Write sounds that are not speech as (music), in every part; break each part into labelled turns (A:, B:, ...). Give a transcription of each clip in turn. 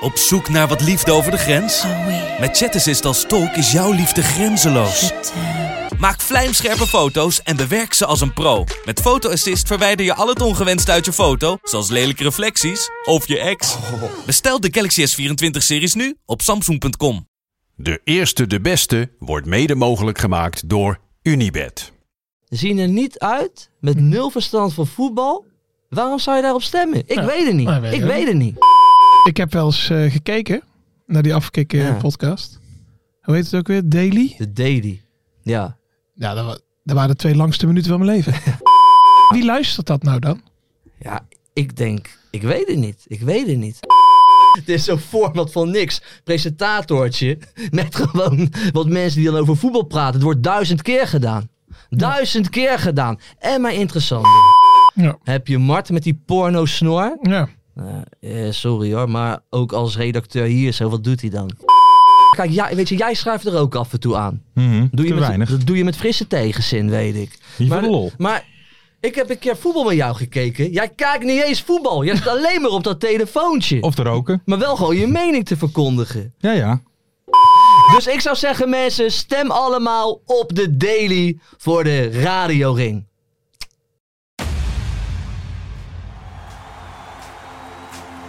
A: Op zoek naar wat liefde over de grens? Met Chat Assist als tolk is jouw liefde grenzeloos. Maak vlijmscherpe foto's en bewerk ze als een pro. Met Photo Assist verwijder je al het ongewenst uit je foto, zoals lelijke reflecties of je ex. Bestel de Galaxy S24-series nu op samsung.com.
B: De eerste de beste wordt mede mogelijk gemaakt door Unibed.
C: zien er niet uit met
D: Mhm.
C: nul verstand van voetbal. Waarom zou je daarop stemmen? Ik
D: Ja,
C: weet het niet.
D: dat weet
C: ik
D: ik ook.
C: weet het niet.
D: Ik heb wel eens eh, gekeken naar die afkikken
C: Ja.
D: podcast. Hoe heet het ook weer? Daily?
C: De Daily. Ja.
D: Ja, dat, wa- dat waren de twee langste minuten van mijn leven.
C: (laughs)
D: Wie luistert dat nou dan?
C: Ja, ik denk, ik weet het niet. Ik weet het niet. (laughs) Het is zo'n format van niks. Presentatortje. Met (laughs) gewoon wat mensen die dan over voetbal praten. Het wordt duizend keer gedaan. Duizend keer gedaan. En maar interessant.
D: Ja.
C: Heb je Mart met die porno snor?
D: ja.
C: Eh, sorry hoor, maar ook als redacteur hier zo, wat doet hij dan? Kijk, ja, weet je, jij schuift er ook af en toe aan. Doe je
E: Mhm, te
C: met,
E: weinig.
C: Dat doe je met frisse tegenzin, weet ik.
E: Niet voor de lol.
C: maar ik heb een keer voetbal bij jou gekeken. Jij kijkt niet eens voetbal. Jij zit (laughs) alleen maar op dat telefoontje.
E: Of te roken.
C: Maar wel gewoon je mening te verkondigen.
E: Ja, ja.
C: Dus ik zou zeggen, mensen, stem allemaal op de Daily voor de radioring.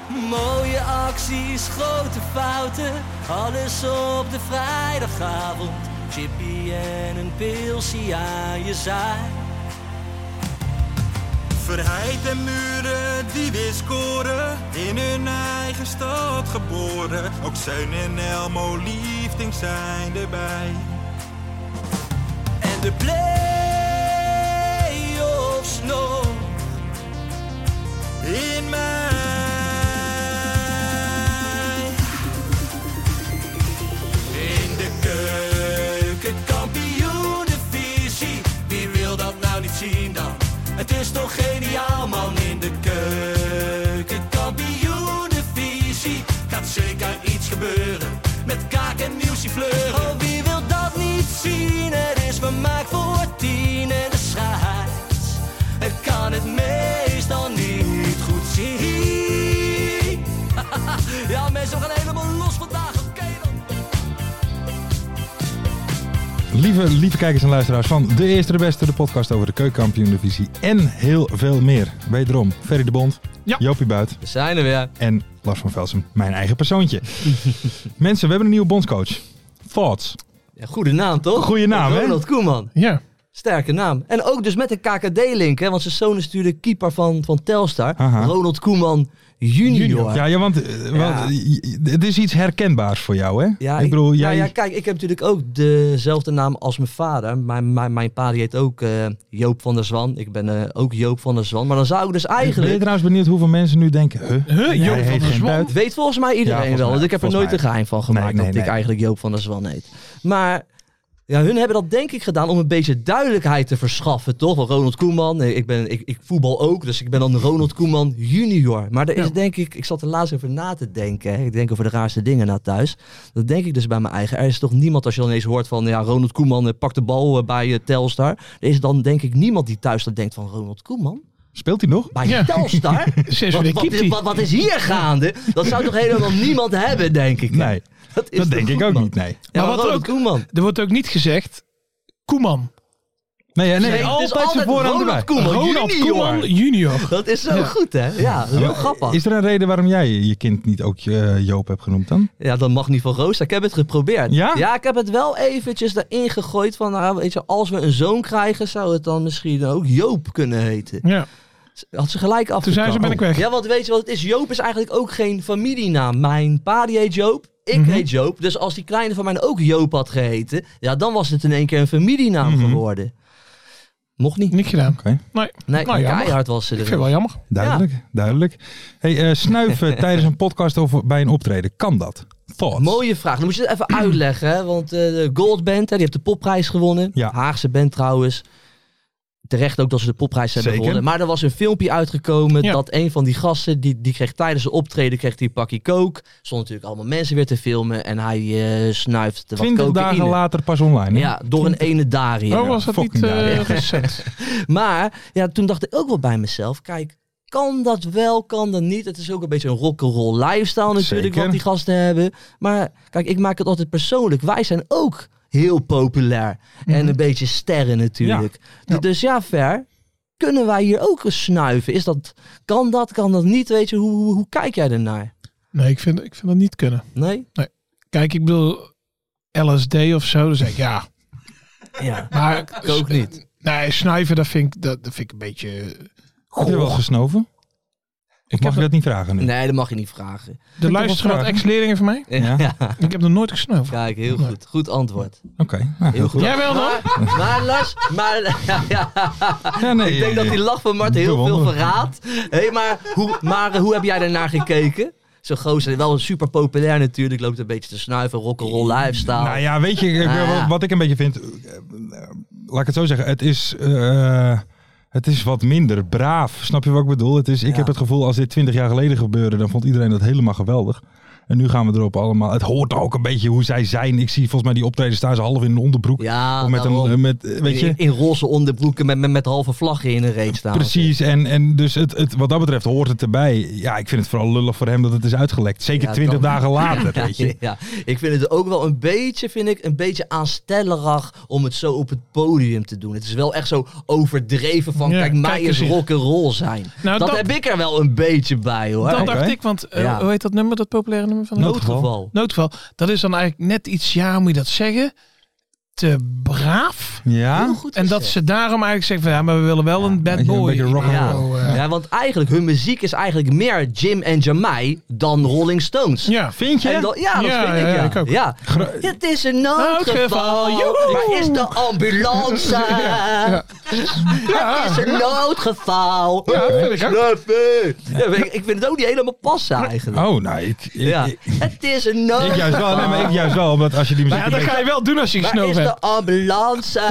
C: Mooie acties, grote fouten, alles op de vrijdagavond. Chippy en een pilsie aan je zaai.
F: Verheid en muren die weer scoren, in hun eigen stad geboren. Ook Zeun en Elmo liefding zijn erbij.
C: En de play-offs nog.
F: In mij. In de keuken, Wie wil dat nou niet zien dan? Het is toch geniaal man in de keuken, Gaat zeker iets gebeuren met kaak en nieuwsje fleuren. Oh, wie wil dat niet zien? Het is vermaakt voor tien en de scheids. Het kan het meestal niet goed zien. (laughs) ja, mensen, we gaan helemaal los vandaag. Oké dan.
E: Lieve, lieve kijkers en luisteraars van De Eerste de Beste, de podcast over de keukenkampioen-divisie en heel veel meer. Wederom, Ferry de Bond,
D: Ja.
E: Jopie Buit
C: We zijn er weer.
E: en Lars van Velsen, mijn eigen persoontje. Mensen, we hebben een nieuwe bondscoach. Thoughts.
C: Ja, goede naam, toch?
E: Goede naam, hè?
C: Ronald Koeman.
D: ja.
C: Sterke naam. En ook dus met een KKD-link, hè? Want zijn zoon is natuurlijk keeper van, van Telstar.
E: Aha.
C: Ronald Koeman junior.
E: Ja, ja want eh, wel,
C: Ja.
E: eh, j- het is iets herkenbaars voor jou, hè?
C: Ja,
E: ik bedoel, jij...
C: nou ja, kijk, ik heb natuurlijk ook dezelfde naam als mijn vader. Mijn, mijn, mijn pa die heet ook eh, Joop van der Zwan. Ik ben eh, ook Joop van der Zwan. Maar dan zou ik dus
E: Ben je
C: eigenlijk...
E: trouwens benieuwd hoeveel mensen nu denken,
D: Huh,
E: huh? Jij
D: Joop van
E: heet
D: der
E: geen
D: Zwan?
E: Buit.
C: Weet volgens mij iedereen
E: Ja, volgens
C: wel.
E: mij-
C: Want ik heb er
E: volgens
C: nooit een
E: mij.
C: geheim van gemaakt
E: Nee, nee,
C: dat ik
E: nee.
C: eigenlijk Joop van der Zwan heet. Maar ja, hun hebben dat denk ik gedaan om een beetje duidelijkheid te verschaffen, toch? Want Ronald Koeman, eh, ik, ben, ik, ik voetbal ook, dus ik ben dan Ronald Koeman junior. Maar er is denk ik, ik zat er laatst over na te denken. hè. Ik denk over de raarste dingen na thuis. Dat denk ik dus bij mijn eigen. Er is toch niemand, als je dan eens hoort van, ja, Ronald Koeman eh, pakt de bal eh, bij eh, Telstar. Er is dan denk ik niemand die thuis dan denkt van, Ronald Koeman?
E: Speelt hij nog?
C: Bij
D: Ja.
C: Telstar?
D: Sinds
C: Wat,
D: wanneer
C: wat,
D: keept
C: is-
D: hij?
C: wat, wat is hier gaande? Dat zou toch
E: (laughs)
C: helemaal niemand hebben, denk ik. hè?
E: Nee,
C: dat, is
E: dat
C: toch
E: denk ik
C: goed,
E: ook
C: man?
E: niet, nee.
C: Ja,
D: Maar
C: maar
D: wat
C: Ronald
D: ook-
C: Koeman.
D: Er wordt ook niet gezegd Koeman.
E: Nee, nee,
C: Nee, het
E: nee
C: is
E: altijd zijn
C: altijd
E: voorhand
C: Ronald
E: erbij.
C: Koeman
D: Ronald
C: junior.
D: Koeman
C: (laughs)
D: junior.
C: Dat is zo goed, hè? Ja, dat is heel grappig.
E: Is er een reden waarom jij je kind niet ook eh, Joop hebt genoemd dan?
C: Ja, dat mag niet van Roos. Ik heb het geprobeerd.
E: Ja?
C: ik heb het wel eventjes daarin gegooid van, nou, weet je, als we een zoon krijgen, zou het dan misschien ook Joop kunnen heten.
D: Ja.
C: Had ze gelijk af.
D: Toen zijn ze ben ik weg.
C: Ja, want weet je wat het is? Joop is eigenlijk ook geen familienaam. Mijn pa die heet Joop, ik
D: Mhm.
C: heet Joop. Dus als die kleine van mij ook Joop had geheten, ja, dan was het in één keer een familienaam
D: Mhm.
C: geworden. Mocht niet.
D: Niet gedaan.
E: Oké.
D: Nee.
C: Nee,
D: Nou, jammer.
C: keihard was ze
D: Ik vind
C: erin.
D: het wel jammer.
C: (laughs)
E: Duidelijk, duidelijk. Hey, eh, snuiven tijdens een podcast of bij een optreden, kan dat? Thoughts?
C: Mooie vraag. Dan moet je het even uitleggen. Hè? Want eh, de Gold Band, hè, die heeft de popprijs gewonnen.
E: Ja.
C: Haagse band trouwens. Terecht ook dat ze de popprijs hebben
E: Zeker.
C: gewonnen. Maar er was een filmpje uitgekomen
D: Ja.
C: dat een van die gasten, die, die kreeg tijdens de optreden, kreeg die een pakje kook. Stond natuurlijk allemaal mensen weer te filmen en hij eh, snuift wat
E: 20
C: cocaïne.
E: dagen later pas online. hè?
C: Ja, door een ene Daria.
D: Oh, was dat
E: fucking
D: niet
E: daar, (laughs) ja.
D: eh recent?
C: Maar ja, toen dacht ik ook wel bij mezelf, kijk, kan dat wel, kan dat niet? Het is ook een beetje een rock'n'roll lifestyle natuurlijk
E: Zeker.
C: wat die gasten hebben. Maar kijk, ik maak het altijd persoonlijk. Wij zijn ook heel populair en een beetje sterren natuurlijk.
D: Mhm. Ja.
C: Dus ja, ver. Kunnen wij hier ook eens snuiven? Is dat, kan dat, kan dat niet? Weet je, hoe, hoe, hoe kijk jij ernaar?
D: Nee, ik vind, ik vind dat niet kunnen.
C: Nee?
D: Kijk, ik bedoel, LSD of zo, dan zeg ik ja.
C: Ja.
D: (laughs) Maar
C: (laughs) Ik ook niet.
D: Nee, snuiven, dat vind ik, dat, dat vind ik een beetje...
E: Heb je wel
D: Goh.
E: gesnoven? Ik mag
D: heb
E: je dat niet vragen nu.
C: Nee, dat mag je niet vragen.
D: De luisteraar had
E: vragen.
D: ex-leerlingen van
E: (laughs)
D: mij.
C: (laughs)
E: Ja?
D: Ik heb nog nooit gesnuiven.
C: Kijk, heel
D: Nee.
C: goed. Goed antwoord.
E: Oké. nou,
C: Heel goed.
D: Jij wel dan?
C: Maar, maar Lars, maar,
E: Ja, nee,
C: Ik denk dat die lach van Marten heel veel
E: Bewonder.
C: verraadt. Hé, maar, hoe, maar eh, hoe heb jij daarnaar gekeken? Zo'n gozer, wel super populair natuurlijk. Loopt een beetje te snuiven, rock'n'roll lifestyle.
E: Nou ja, weet je, ik-
C: Ah, Oh. ja.
E: wat ik een beetje vind... eh, eh, Laat ik het zo zeggen. Het is, eh, het is wat minder braaf. Snap je wat ik bedoel? Het is, ik
C: Ja.
E: heb het gevoel, als dit 20 jaar geleden gebeurde... dan vond iedereen dat helemaal geweldig. En nu gaan we erop allemaal... Het hoort ook een beetje hoe zij zijn. Ik zie volgens mij die optreden staan ze half in een onderbroek.
C: Ja,
E: of met een,
C: daarom.
E: eh, met, eh, weet je,
C: In, in roze onderbroeken met, met, met halve vlaggen in een reet staan.
E: Precies, en, en dus het, het, wat dat betreft hoort het erbij. Ja, ik vind het vooral lullig voor hem dat het is uitgelekt. Zeker
C: Ja,
E: twintig
C: kan.
E: dagen later, weet je.
C: (laughs) Ja, ik vind het ook wel een beetje, vind ik, een beetje aanstellerig om het zo op het podium te doen. Het is wel echt zo overdreven van,
D: Ja,
C: kijk,
D: kijk
C: mij
D: eens
C: is
D: hier.
C: rock'n'roll zijn.
D: Nou,
C: dat,
D: dat-
C: heb ik er wel een beetje bij, hoor.
D: Dat
E: Oké.
D: dacht ik, want eh,
C: Ja.
D: hoe heet dat nummer, dat populaire nummer van
C: Noodgeval.
D: Noodgeval. Dat is dan eigenlijk net iets, ja, hoe moet je dat zeggen? Te braaf.
E: Ja?
D: En dat ze daarom eigenlijk zeggen van, ja, maar we willen wel een bad
E: Een
D: boy.
E: beetje rock and
C: Ja.
E: roll.
D: eh.
C: ja, want eigenlijk, hun muziek is eigenlijk meer Jim en Jamai dan Rolling Stones.
D: Ja.
E: Vind je?
C: En dan- ja, dat
D: Ja,
C: vind ik,
D: ja,
C: ja.
D: ik ook.
C: Ja.
E: Gro-
C: Het is een
D: Noodgeval,
C: noodgeval,
D: joehoe.
C: maar is de ambulance? Het is een noodgeval.
D: Ja, dat vind ik ook.
C: Snuffy. Ja, maar ik, ik vind het ook niet helemaal passen eigenlijk.
E: Oh, nou, ik, ik,
C: Ja.
E: ik,
C: Het is een noodgeval.
E: ik juist wel. Nee, maar ik juist wel, omdat als je die muziek...
D: Ja,
E: een
D: dat
E: beetje-
D: ga je wel doen als je
C: Waar is
D: gesnoven
C: de
D: hebt.
C: ambulance?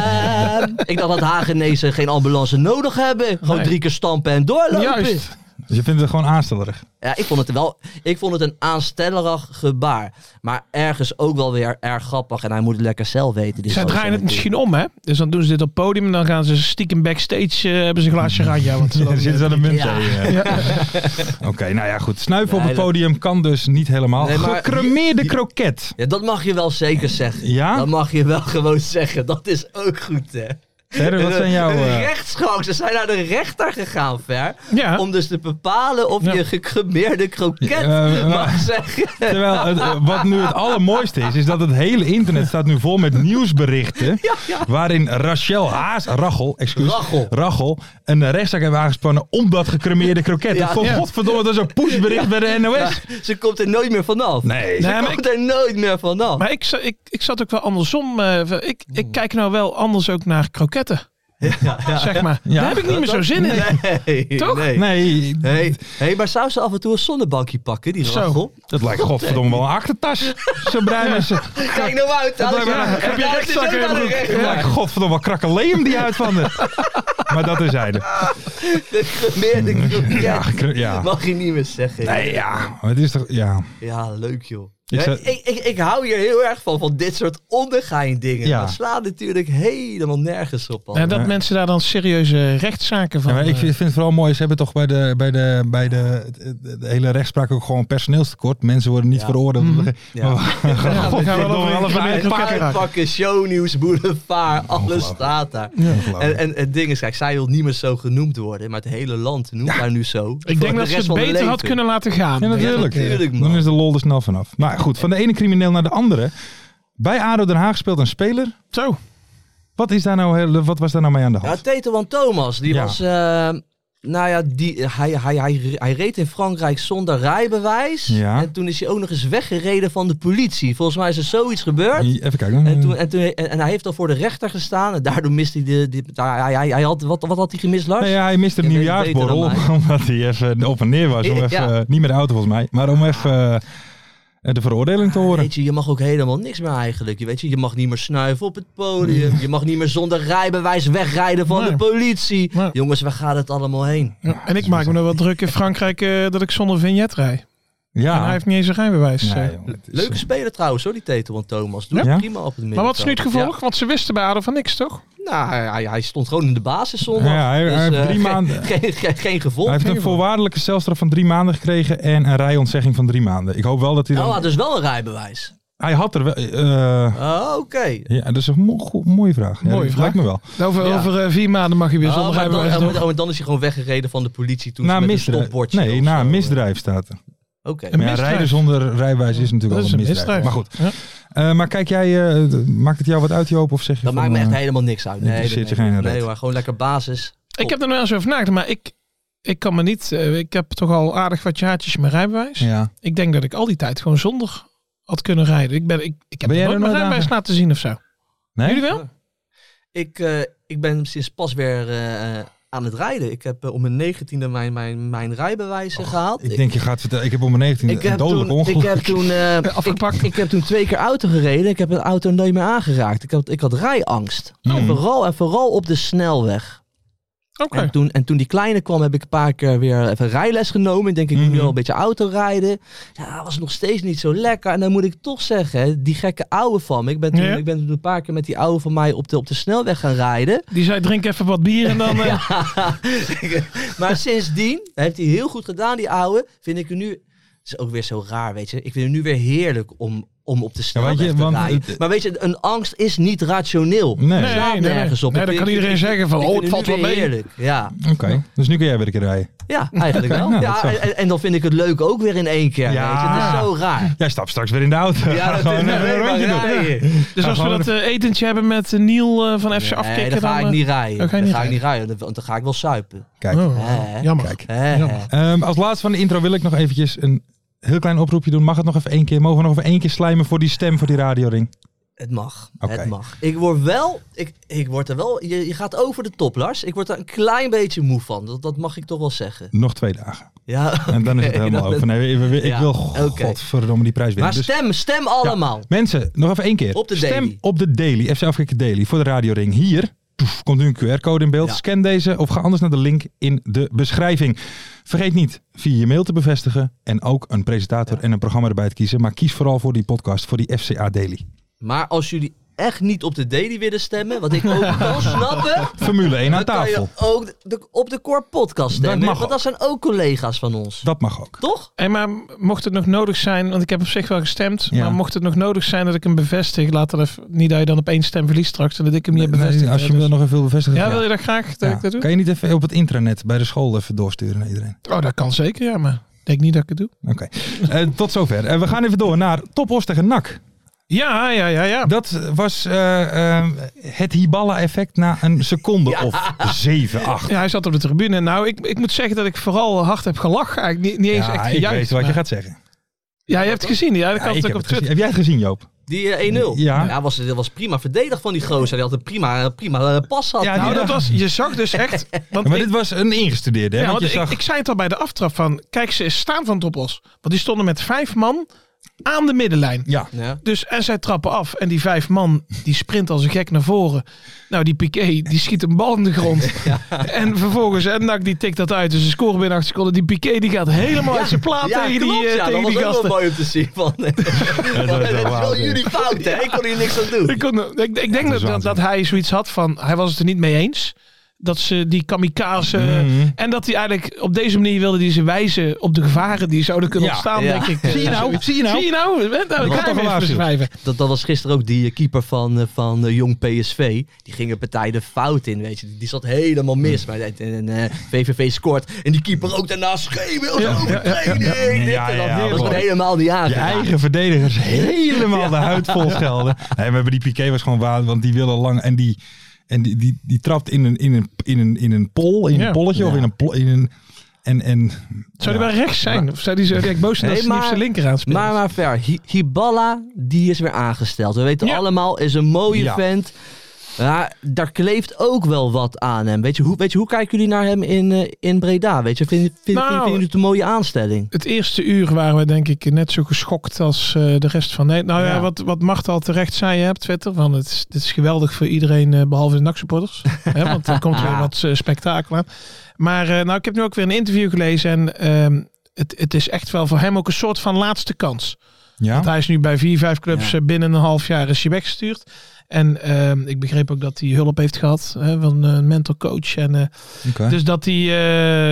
C: ik dacht dat Hagenezen geen ambulance nodig hebben. Gewoon
D: Nee.
C: drie keer stampen en doorlopen.
D: Juist.
E: Dus je vindt het gewoon aanstellerig.
C: Ja, ik vond het wel. Ik vond het een aanstellerig gebaar. Maar ergens ook wel weer erg grappig. En hij moet het lekker zelf weten. die
D: Zij
C: gozer
D: draaien het
C: natuurlijk.
D: misschien om, hè? Dus dan doen ze dit op podium en dan gaan ze stiekem backstage, eh, hebben ze een glaasje ranja. Want ze
E: Er
D: dan,
E: zit ze aan de munt.
C: Mm. (laughs) Ja.
E: eh, (laughs) Oké, nou ja, goed. Snuiven op
C: Nee,
E: het
C: dat-
E: podium kan dus niet helemaal.
C: Nee, maar-
E: Gecremeerde kroket.
C: Ja, dat mag je wel zeker zeggen.
E: Ja?
C: Dat mag je wel gewoon zeggen. Dat is ook goed, hè?
E: Verder, wat zijn jouw...
C: De
E: eh,
C: rechtsgang. Ze zijn naar de rechter gegaan, Ver.
D: ja.
C: Om dus te bepalen of
D: Ja.
C: je gecremeerde kroket
E: Ja, eh, nou-
C: mag zeggen.
D: (laughs)
E: Terwijl het, eh, wat nu het allermooiste is, is dat het hele internet staat nu vol
C: (laughs)
E: met nieuwsberichten. Waarin Rachel Haas, Rachel, excuus,
C: Rachel.
E: Rachel, een rechtszaak heeft aangespannen om dat gecremeerde kroket.
C: Ja.
E: Ik vond,
D: Ja.
E: godverdomme, dat is een pushbericht bij de NOS.
C: Ze komt er nooit meer vanaf.
E: Nee.
C: Ze
D: Nee, maar
C: komt er nooit meer vanaf.
D: Maar ik, za- ik, ik zat ook wel andersom. eh, ik,
C: Mm.
D: ik kijk nou wel anders ook naar kroketten. Zeg maar.
E: Ja.
D: Daar heb ik niet meer zo zin in.
C: Nee.
D: Toch?
C: Nee.
E: Nee,
C: Hey, hey, maar zou ze af en toe een zonnebankje pakken, die
D: Zo.
C: Rachel?
E: dat lijkt godverdomme wel een achtertas. Zo bruin is ze.
C: Kijk nou uit, Alex.
E: lijkt me-
C: Ja,
E: heb
C: ja, het is ook aan de
E: Dat
C: rechter. (laughs)
E: lijkt godverdomme wel krakkeleem die uit van de. Maar dat is hij. dus.
C: De
D: (laughs)
C: gemeerde kroket.
E: Ja, gekre- ja.
C: Mag je niet meer zeggen.
E: Nee, ja. Maar het is toch, ja.
C: Ja, leuk joh.
E: Ik
C: Ik,
E: zou-
C: ik, ik, ik hou hier heel erg van, van dit soort ondergein dingen.
E: Ja.
C: Dat slaat natuurlijk helemaal nergens op.
D: Nou,
C: allemaal.
D: dat
E: Ja.
D: mensen daar dan serieuze rechtszaken van.
E: Ja, maar ik
D: eh,
E: vind vind het vooral mooi, ze hebben toch bij de, bij de, bij de, de, de hele rechtspraak ook gewoon personeelstekort. Mensen worden niet
C: Ja. Mhm.
E: veroordeeld.
C: Ja.
E: Maar we gaan
D: we
E: godverdomme
D: gaan wel over
E: alle
D: een
E: van die
D: klein-
E: kroketten.
D: pakken.
C: pakken, shownieuws, boulevard, alles staat daar. En, en het ding is, kijk, zij wil niet meer zo genoemd worden, maar het hele land noemt haar nu zo.
D: ik denk dat ze het beter had kunnen laten gaan.
E: Ja, natuurlijk.
C: Ja, natuurlijk, man.
E: Dan is de lol er snel vanaf. Maar goed, van de ene crimineel naar de andere. Bij ADO Den Haag speelt een speler.
D: Zo.
E: Wat, is daar nou, heel- wat was daar nou mee aan de
C: Ja,
E: hand?
C: Teto van Thomas, die
E: Ja.
C: was... eh, nou ja, die, hij, hij, hij, hij reed in Frankrijk zonder rijbewijs.
E: Ja.
C: En toen is hij ook nog eens weggereden van de politie. Volgens mij is er zoiets gebeurd.
E: Even kijken.
C: En, toen, en, toen, en, en hij heeft al voor de rechter gestaan. En daardoor mist hij de. die- hij, hij, hij- hij had, wat, wat had hij gemist, Lars?
E: Nee, ja, hij miste de
C: Je weet
E: (laughs) nieuwjaarsborrel
C: beter dan
E: omdat hij even op en neer was. Om
C: Ja. Ah.
E: even, Niet met de auto volgens mij, maar om even... eh, En de veroordeling te horen.
C: Weet je, je mag ook helemaal niks meer eigenlijk. Je, weet je, je mag niet meer snuiven op het podium. Je mag niet meer zonder rijbewijs wegrijden van
D: Nee.
C: de politie.
D: Nee.
C: Jongens, waar gaat het allemaal heen?
D: Ja, en ik maak me nog wel druk in Frankrijk eh, dat ik zonder vignet rij. En hij
E: Ja.
D: heeft niet eens een rijbewijs. eh.
E: Nee, jongen, het is,
C: Leuke
E: eh,
C: speler trouwens hoor, die Tetel en Thomas. Doet
E: Ja?
C: het prima op het midden.
D: maar wat is nu het gevolg? Want ze wisten bij Adel van niks, toch?
C: Nou, hij- hij, hij stond gewoon in de basis zondag.
E: Ja, hij- hij heeft
C: eh,
E: drie
C: geen- (laughs)
E: maanden.
C: Geen, geen, geen gevolg.
E: Hij heeft een voorwaardelijke celstraf van drie maanden gekregen en een rijontzegging van drie maanden. Ik hoop wel dat hij
C: Oh,
E: dan...
C: hij had dus wel een rijbewijs.
E: Hij had er wel... eh,
C: Oh, oké.
E: ja, dat is een mo- go- mooie vraag. Ja,
D: Mooie
E: dat
D: vraag.
E: Lijkt me wel.
D: Over,
C: Ja.
D: over eh, vier maanden mag je weer
C: Oh,
D: zonder
C: maar dan,
D: rijbewijs.
C: oh,
D: doen.
C: maar- oh, maar dan is hij gewoon weggereden van de politie toen
E: Na
C: ze met een
E: misdrijf.
C: stopbordje.
E: Nee,
C: of
E: na
C: zo, eh.
E: misdrijf staat er.
C: Oké.
D: Een
E: Maar ja,
D: misdrijf.
E: rijden zonder rijbewijs is natuurlijk
D: Dat
E: wel
D: is
E: een
D: een
E: misdrijf.
D: misdrijf.
E: Maar goed.
D: Ja.
E: Eh, maar kijk jij, eh, d- maakt het jou wat uit, Joop? Of zeg je
C: Dat
E: van,
C: maakt me echt
E: eh,
C: helemaal niks uit.
E: dat
C: Nee, nee,
E: interesseert je
C: nee,
E: geen
C: nee,
E: reet.
C: hoor, gewoon lekker basis.
D: Ik heb er nog wel eens over nagedacht, maar ik, ik kan me niet. eh, ik heb toch al aardig wat jaartjes mijn rijbewijs.
E: Ja.
D: Ik denk dat ik al die tijd gewoon zonder had kunnen rijden. Ik, ben, ik, ik heb
E: Ben jij
D: nog
E: er
D: nooit mijn
E: nooit aan
D: rijbewijs
E: ge-
D: laten zien of zo.
E: Nee?
D: Jullie wel?
C: Ik, eh, ik ben sinds pas weer eh, aan het rijden. Ik heb eh, om mijn negentiende mijn, mijn, mijn rijbewijs eh, gehaald.
E: Ik denk, je gaat vertellen. Ik heb op mijn 19
C: Ik
E: een
C: heb,
E: dodelijk
C: toen, ik,
E: ongeluk.
C: heb toen, eh, ik, ik heb toen twee keer auto gereden. Ik heb een auto nooit meer aangeraakt. Ik had, ik had rijangst.
E: Mm.
C: En, vooral, en vooral op de snelweg.
D: Oké.
E: Oh
C: En, toen, en toen die kleine kwam, heb ik een paar keer weer even rijles genomen. Ik denk, ik moet nu
E: Mhm.
C: al een beetje auto rijden. Ja, dat was nog steeds niet zo lekker. En dan moet ik toch zeggen, hè, die gekke ouwe van me. Ik ben toen,
D: Ja.
C: ik ben toen een paar keer met die ouwe van mij op de, op de snelweg gaan rijden.
D: Die zei: drink even wat bier (laughs) en dan. eh,
C: (laughs) maar sindsdien heeft hij heel goed gedaan, die ouwe. Vind ik hem nu... is ook weer zo raar, weet je. Ik vind het nu weer heerlijk om, om op de snelweg
E: weet je,
C: te
E: want
C: rijden.
E: het-
C: maar weet je, een angst is niet rationeel.
E: (laughs) Nee.
C: Het slaat
D: Nee, nee, nee.
C: nergens op.
D: Nee,
C: Ik
D: dan
C: vind-
D: kan
C: ik-
D: iedereen
C: ik-
D: zeggen van,
C: ik
D: oh,
C: vind
D: het valt
C: nu
D: wel mee.
C: heerlijk, ja.
E: Oké, dus nu kun jij weer een keer rijden.
C: Ja, eigenlijk
E: Oké,
C: wel.
E: nou, dat
C: ja,
E: is wel-
C: en, en dan vind ik het leuk ook weer in één keer.
E: Ja.
C: Weet je? Het is zo
E: (laughs)
C: raar.
E: Jij stapt straks weer in de auto.
C: Ja, dat
E: (laughs) Gewoon
C: is
E: even een
C: nee,
E: rondje
C: maar
E: doen.
C: rijden.
D: Dus
E: Ja,
D: als we
E: gewoon
D: dat eh, etentje hebben met eh, Niel eh, van FC
C: Nee,
D: afkicken,
C: dan ga
D: dan. eh-
C: ik niet rijden.
D: dan ga je
C: Dan
D: niet
C: ga ik niet rijden, want dan ga ik wel suipen.
E: Kijk,
D: eh, oh,
C: Hè?
D: jammer.
E: kijk.
C: Hè?
D: Jammer.
E: Ehm, als laatste van de intro wil ik nog eventjes een heel klein oproepje doen. Mag het nog even één keer? Mogen we nog even één keer slijmen voor die stem, voor die radioring?
C: Het mag.
E: Oké.
C: Het mag. Ik word wel, ik, ik word er wel, je, je gaat over de top, Lars. Ik word er een klein beetje moe van. Dat, dat mag ik toch wel zeggen.
E: Nog twee dagen.
C: Ja. (laughs)
E: En dan is het
C: Oké,
E: helemaal
C: dat-
E: over. Nee, we- we- ik
C: Ja,
E: wil
C: oké.
E: godverdomme die prijs winnen.
C: Maar
E: Dus
C: stem, stem allemaal.
E: mensen, nog even één keer.
C: Op de
E: Stem
C: daily.
E: op de daily. FC Afrika Daily voor de radioring. Hier toef, komt nu een QR-code in beeld.
C: Ja.
E: Scan deze of ga anders naar de link in de beschrijving. Vergeet niet via je mail te bevestigen. En ook een presentator en een programma erbij te kiezen. Maar kies vooral voor die podcast, voor die FCA Daily.
C: Maar als jullie echt niet op de daily willen stemmen, wat ik ook
E: (laughs)
C: kan snappen,
E: Formule 1
C: (laughs)
E: aan
C: dan kan je
E: tafel.
C: ook de- op de Core Podcast stemmen.
E: mag
C: want dat zijn ook collega's van ons.
E: Dat mag ook.
C: Toch?
D: Hey, maar mocht het nog nodig zijn, want ik heb op zich wel gestemd,
E: Ja.
D: maar mocht het nog nodig zijn dat ik hem bevestig, laat dan even, niet dat je dan op één stem verliest straks en dat ik hem niet heb
E: Nee,
D: bevestigd.
E: als je
D: hè,
E: me
D: dus-
E: nog even wil bevestigen.
D: ja, wil je dat graag dat ik dat doe?
E: Kan je niet even op het intranet bij de school even doorsturen naar iedereen?
D: Oh, dat kan zeker, ja, maar ik denk niet dat ik het doe.
E: Oké.
D: (laughs)
E: Eh, tot zover. Eh, we gaan even door naar Top Os tegen NAC.
D: Ja, ja, ja, ja.
E: Dat was eh, eh, het Hiballa-effect na een seconde of 7, 8.
D: (laughs) Ja, hij zat op de tribune. Nou, ik, ik moet zeggen dat ik vooral hard heb gelachen. Eigenlijk niet, niet eens echt
E: ik
D: gejuicht.
E: weet wat je
D: maar-
E: gaat zeggen.
D: Ja, je hebt het gezien. Ja, dat
E: Ja,
D: kan
E: ik
D: natuurlijk
E: heb,
D: op
E: het gezien.
D: Twitter.
E: heb jij het gezien, Joop?
C: Die eh, 1-0.
E: Ja.
C: was, dat was prima verdedigd van die gozer. Die had een prima, prima eh, pas had.
E: Ja, die
C: Nou,
D: Nou,
C: dat-
D: dat was, je zag dus
E: (laughs)
D: echt... Want
E: Maar
D: ik-
E: dit was een ingestudeerde, hè?
D: Ja,
E: want
D: want
E: je
D: ik,
E: zag...
D: ik zei het al bij de aftrap van, kijk ze is staan van Topos. Want die stonden met vijf man aan de middenlijn.
E: ja.
C: ja.
D: Dus en zij trappen af en die vijf man die sprint als een gek naar voren. Nou die Piqué die schiet een bal in de
C: (laughs)
D: grond. En vervolgens en Nak die tikt dat uit. Dus ze scoren binnen acht seconden. Die Piqué die gaat helemaal uit zijn plaat
C: Ja,
D: tegen
C: klopt,
D: die, eh,
C: ja,
D: tegen
C: dat
D: die
C: was ook wel
D: gasten.
C: mooi om te zien. (laughs) Van,
E: wel
C: dit is wel
E: waanzin.
C: jullie fout, hè? Ik kon hier niks aan
D: Ik,
C: doen.
D: kon, ik, ik denk
E: dat
D: dat,
E: is
D: dat,
E: waanzin.
D: dat hij zoiets had van, hij was het er niet mee eens. Dat ze die kamikaze...
E: Mhm.
D: En dat hij eigenlijk op deze manier wilde die ze wijzen op de gevaren die zouden kunnen
E: Ja.
D: ontstaan.
C: (laughs) Ja.
D: Denk ik.
E: Zie je nou? Zie je nou?
D: Zie je nou? Nou,
E: wordt
D: ik
E: toch
D: ga hem even
E: gewaarschuwd.
D: beschrijven.
C: (laughs) Dat, dat was gisteren ook die eh, keeper van, eh, van eh, Jong PSV. Die ging een partij de fout in, weet je. Die, die zat helemaal mis. Maar en, en, eh, VVV scoort. En die keeper ook daarna schreeuwt. Ja,
E: Ja, ja, ja,
C: dat wordt
E: mooi.
C: helemaal niet
E: Je
C: aangedaan.
E: eigen verdedigers
D: (laughs)
E: helemaal de huid vol schelden. Nee, maar bij die Piqué was gewoon waar, want die wilde lang en die, en die, die, die trapt in een, in een, in een, in een pol, in
D: Ja.
E: een polletje of in een, pol, in een en, en
D: Zou
E: ja.
D: die wel rechts zijn? Of zou die zo
C: (laughs)
D: direct boos zijn
C: Nee,
D: dat ze niet op
C: maar-
D: zijn linker aanspelen?
C: Maar maar ver, Hi- Hiballa, die is weer aangesteld. We weten
D: Ja.
C: allemaal, is een mooie
E: Ja.
C: vent. Ja, daar kleeft ook wel wat aan hem. Weet je, hoe, weet je, hoe kijken jullie naar hem in, eh, in Breda? Weet je, vind, vind, vind,
D: Nou,
C: vinden jullie het een mooie aanstelling?
D: Het eerste uur waren we denk ik net zo geschokt als eh, de rest van Nederland. Nou ja,
C: Ja.
D: wat, wat Mart al terecht zei hè, op Twitter. Van het, is, dit is geweldig voor iedereen, eh, behalve de NAC-supporters. Hè, want er komt weer wat eh, spektakel aan. Maar eh, nou, ik heb nu ook weer een interview gelezen. En ehm, het, het is echt wel voor hem ook een soort van laatste kans.
E: Ja?
D: Want hij is nu bij vier, vijf clubs. eh, Binnen een half jaar is hij weggestuurd. En ehm, ik begreep ook dat hij hulp heeft gehad hè, van een mental coach. En eh,
E: Oké.
D: dus dat hij,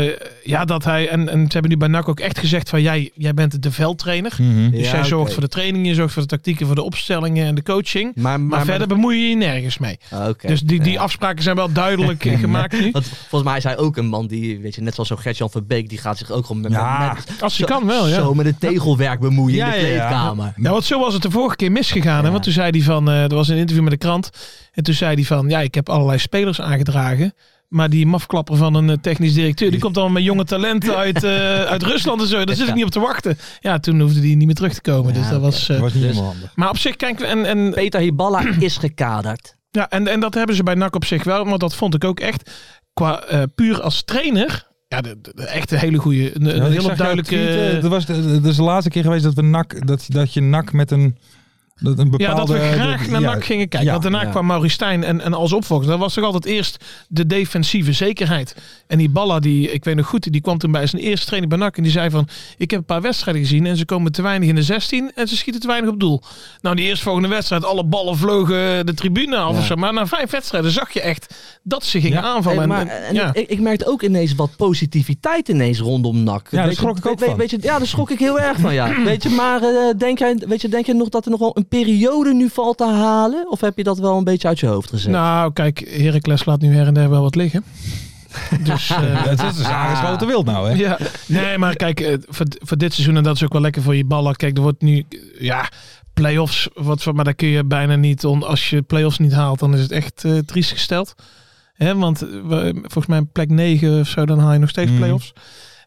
D: eh, ja, dat hij, en, en ze hebben nu bij NAC ook echt gezegd van, jij, jij bent de veldtrainer.
E: Mhm.
D: Dus
C: Ja,
D: jij zorgt
C: oké.
D: voor de trainingen, je zorgt voor de tactieken, voor de opstellingen en de coaching. Maar,
C: Maar, maar,
D: verder bemoei je je nergens mee.
C: Ah, oké.
D: Dus die, die
C: Ja.
D: afspraken zijn wel duidelijk
C: (laughs)
D: eh, gemaakt nu.
C: Want volgens mij is hij ook een man die, weet je, net zoals zo'n Gertjan Verbeek, die gaat zich ook gewoon met,
E: Ja,
C: met, met-
D: als hij
C: zo-
D: kan wel, ja.
C: zo met het tegelwerk bemoeien
E: Ja,
C: in de
E: ja, ja.
C: kleedkamer.
D: Ja, want zo was het de vorige keer misgegaan.
C: Ja.
D: Hè? Want toen zei hij van, eh, er was een interview met de krant. En toen zei hij van, ja, ik heb allerlei spelers aangedragen. Maar die mafklapper van een eh, technisch directeur, die komt dan met jonge
C: (laughs)
D: talenten uit, eh, uit Rusland en zo. Daar zit ik niet op te wachten. Ja, toen hoefde die niet meer terug te komen.
C: Ja,
D: dus dat
C: oké.
D: was... eh,
E: Dat was niet
C: Dus-
E: helemaal handig.
D: maar op zich, kijk, en, en
C: Peter Hiballa is gekaderd.
D: Ja, en, en dat hebben ze bij NAC op zich wel. Want dat vond ik ook echt, qua eh, puur als trainer... Ja, de, de- de echt een hele goede, een, een
E: Ja, ik
D: hele
E: zag jouw
D: duidelijke...
E: tweet, eh, dat, was de, dat is de laatste keer geweest dat, we nak, dat, dat je nak met een, dat een
D: ja,
E: bepaalde...
D: dat we graag
E: dat-
D: naar
E: ja,
D: NAC gingen kijken.
E: ja,
D: want daarna
C: ja.
D: kwam Mauristijn en, en als opvolger. Dat was toch altijd eerst de defensieve zekerheid. En die Balla, die, ik weet nog goed, die kwam toen bij zijn eerste training bij NAC. En die zei van, ik heb een paar wedstrijden gezien. En ze komen te weinig in de 16 en ze schieten te weinig op doel. Nou, die eerstvolgende wedstrijd, alle ballen vlogen de tribune af.
C: Ja.
D: Of zo. Maar na vijf wedstrijden zag je echt dat ze gingen
E: Ja.
D: aanvallen.
C: En,
D: En-
C: Eh, maar,
D: en-
C: en
D: ja.
C: ik, ik merkte ook ineens wat positiviteit ineens rondom NAC.
E: Ja, daar
C: Weet je-
E: schrok ik ook
C: weet,
E: van.
C: Weet je, ja, daar schrok ik heel erg van, (clears throat) ja. Weet je, maar eh, denk, jij, weet je, denk je nog dat er nog wel een periode nu valt te halen? Of heb je dat wel een beetje uit je hoofd gezet?
D: Nou, kijk, Heracles laat nu her en der wel wat liggen. Dus, eh,
E: Dat is dus aangeschoten wild nou, hè?
D: ja. Nee, maar kijk, eh, voor, voor dit seizoen, en dat is ook wel lekker voor je ballen. Kijk, er wordt nu, eh, ja, play-offs, wat, voor- maar daar kun je bijna niet, on, als je play-offs niet haalt, dan is het echt eh, triest gesteld. Hè, want eh, we- volgens mij plek 9 of zo, dan haal je nog steeds
E: Mhm.
D: play-offs.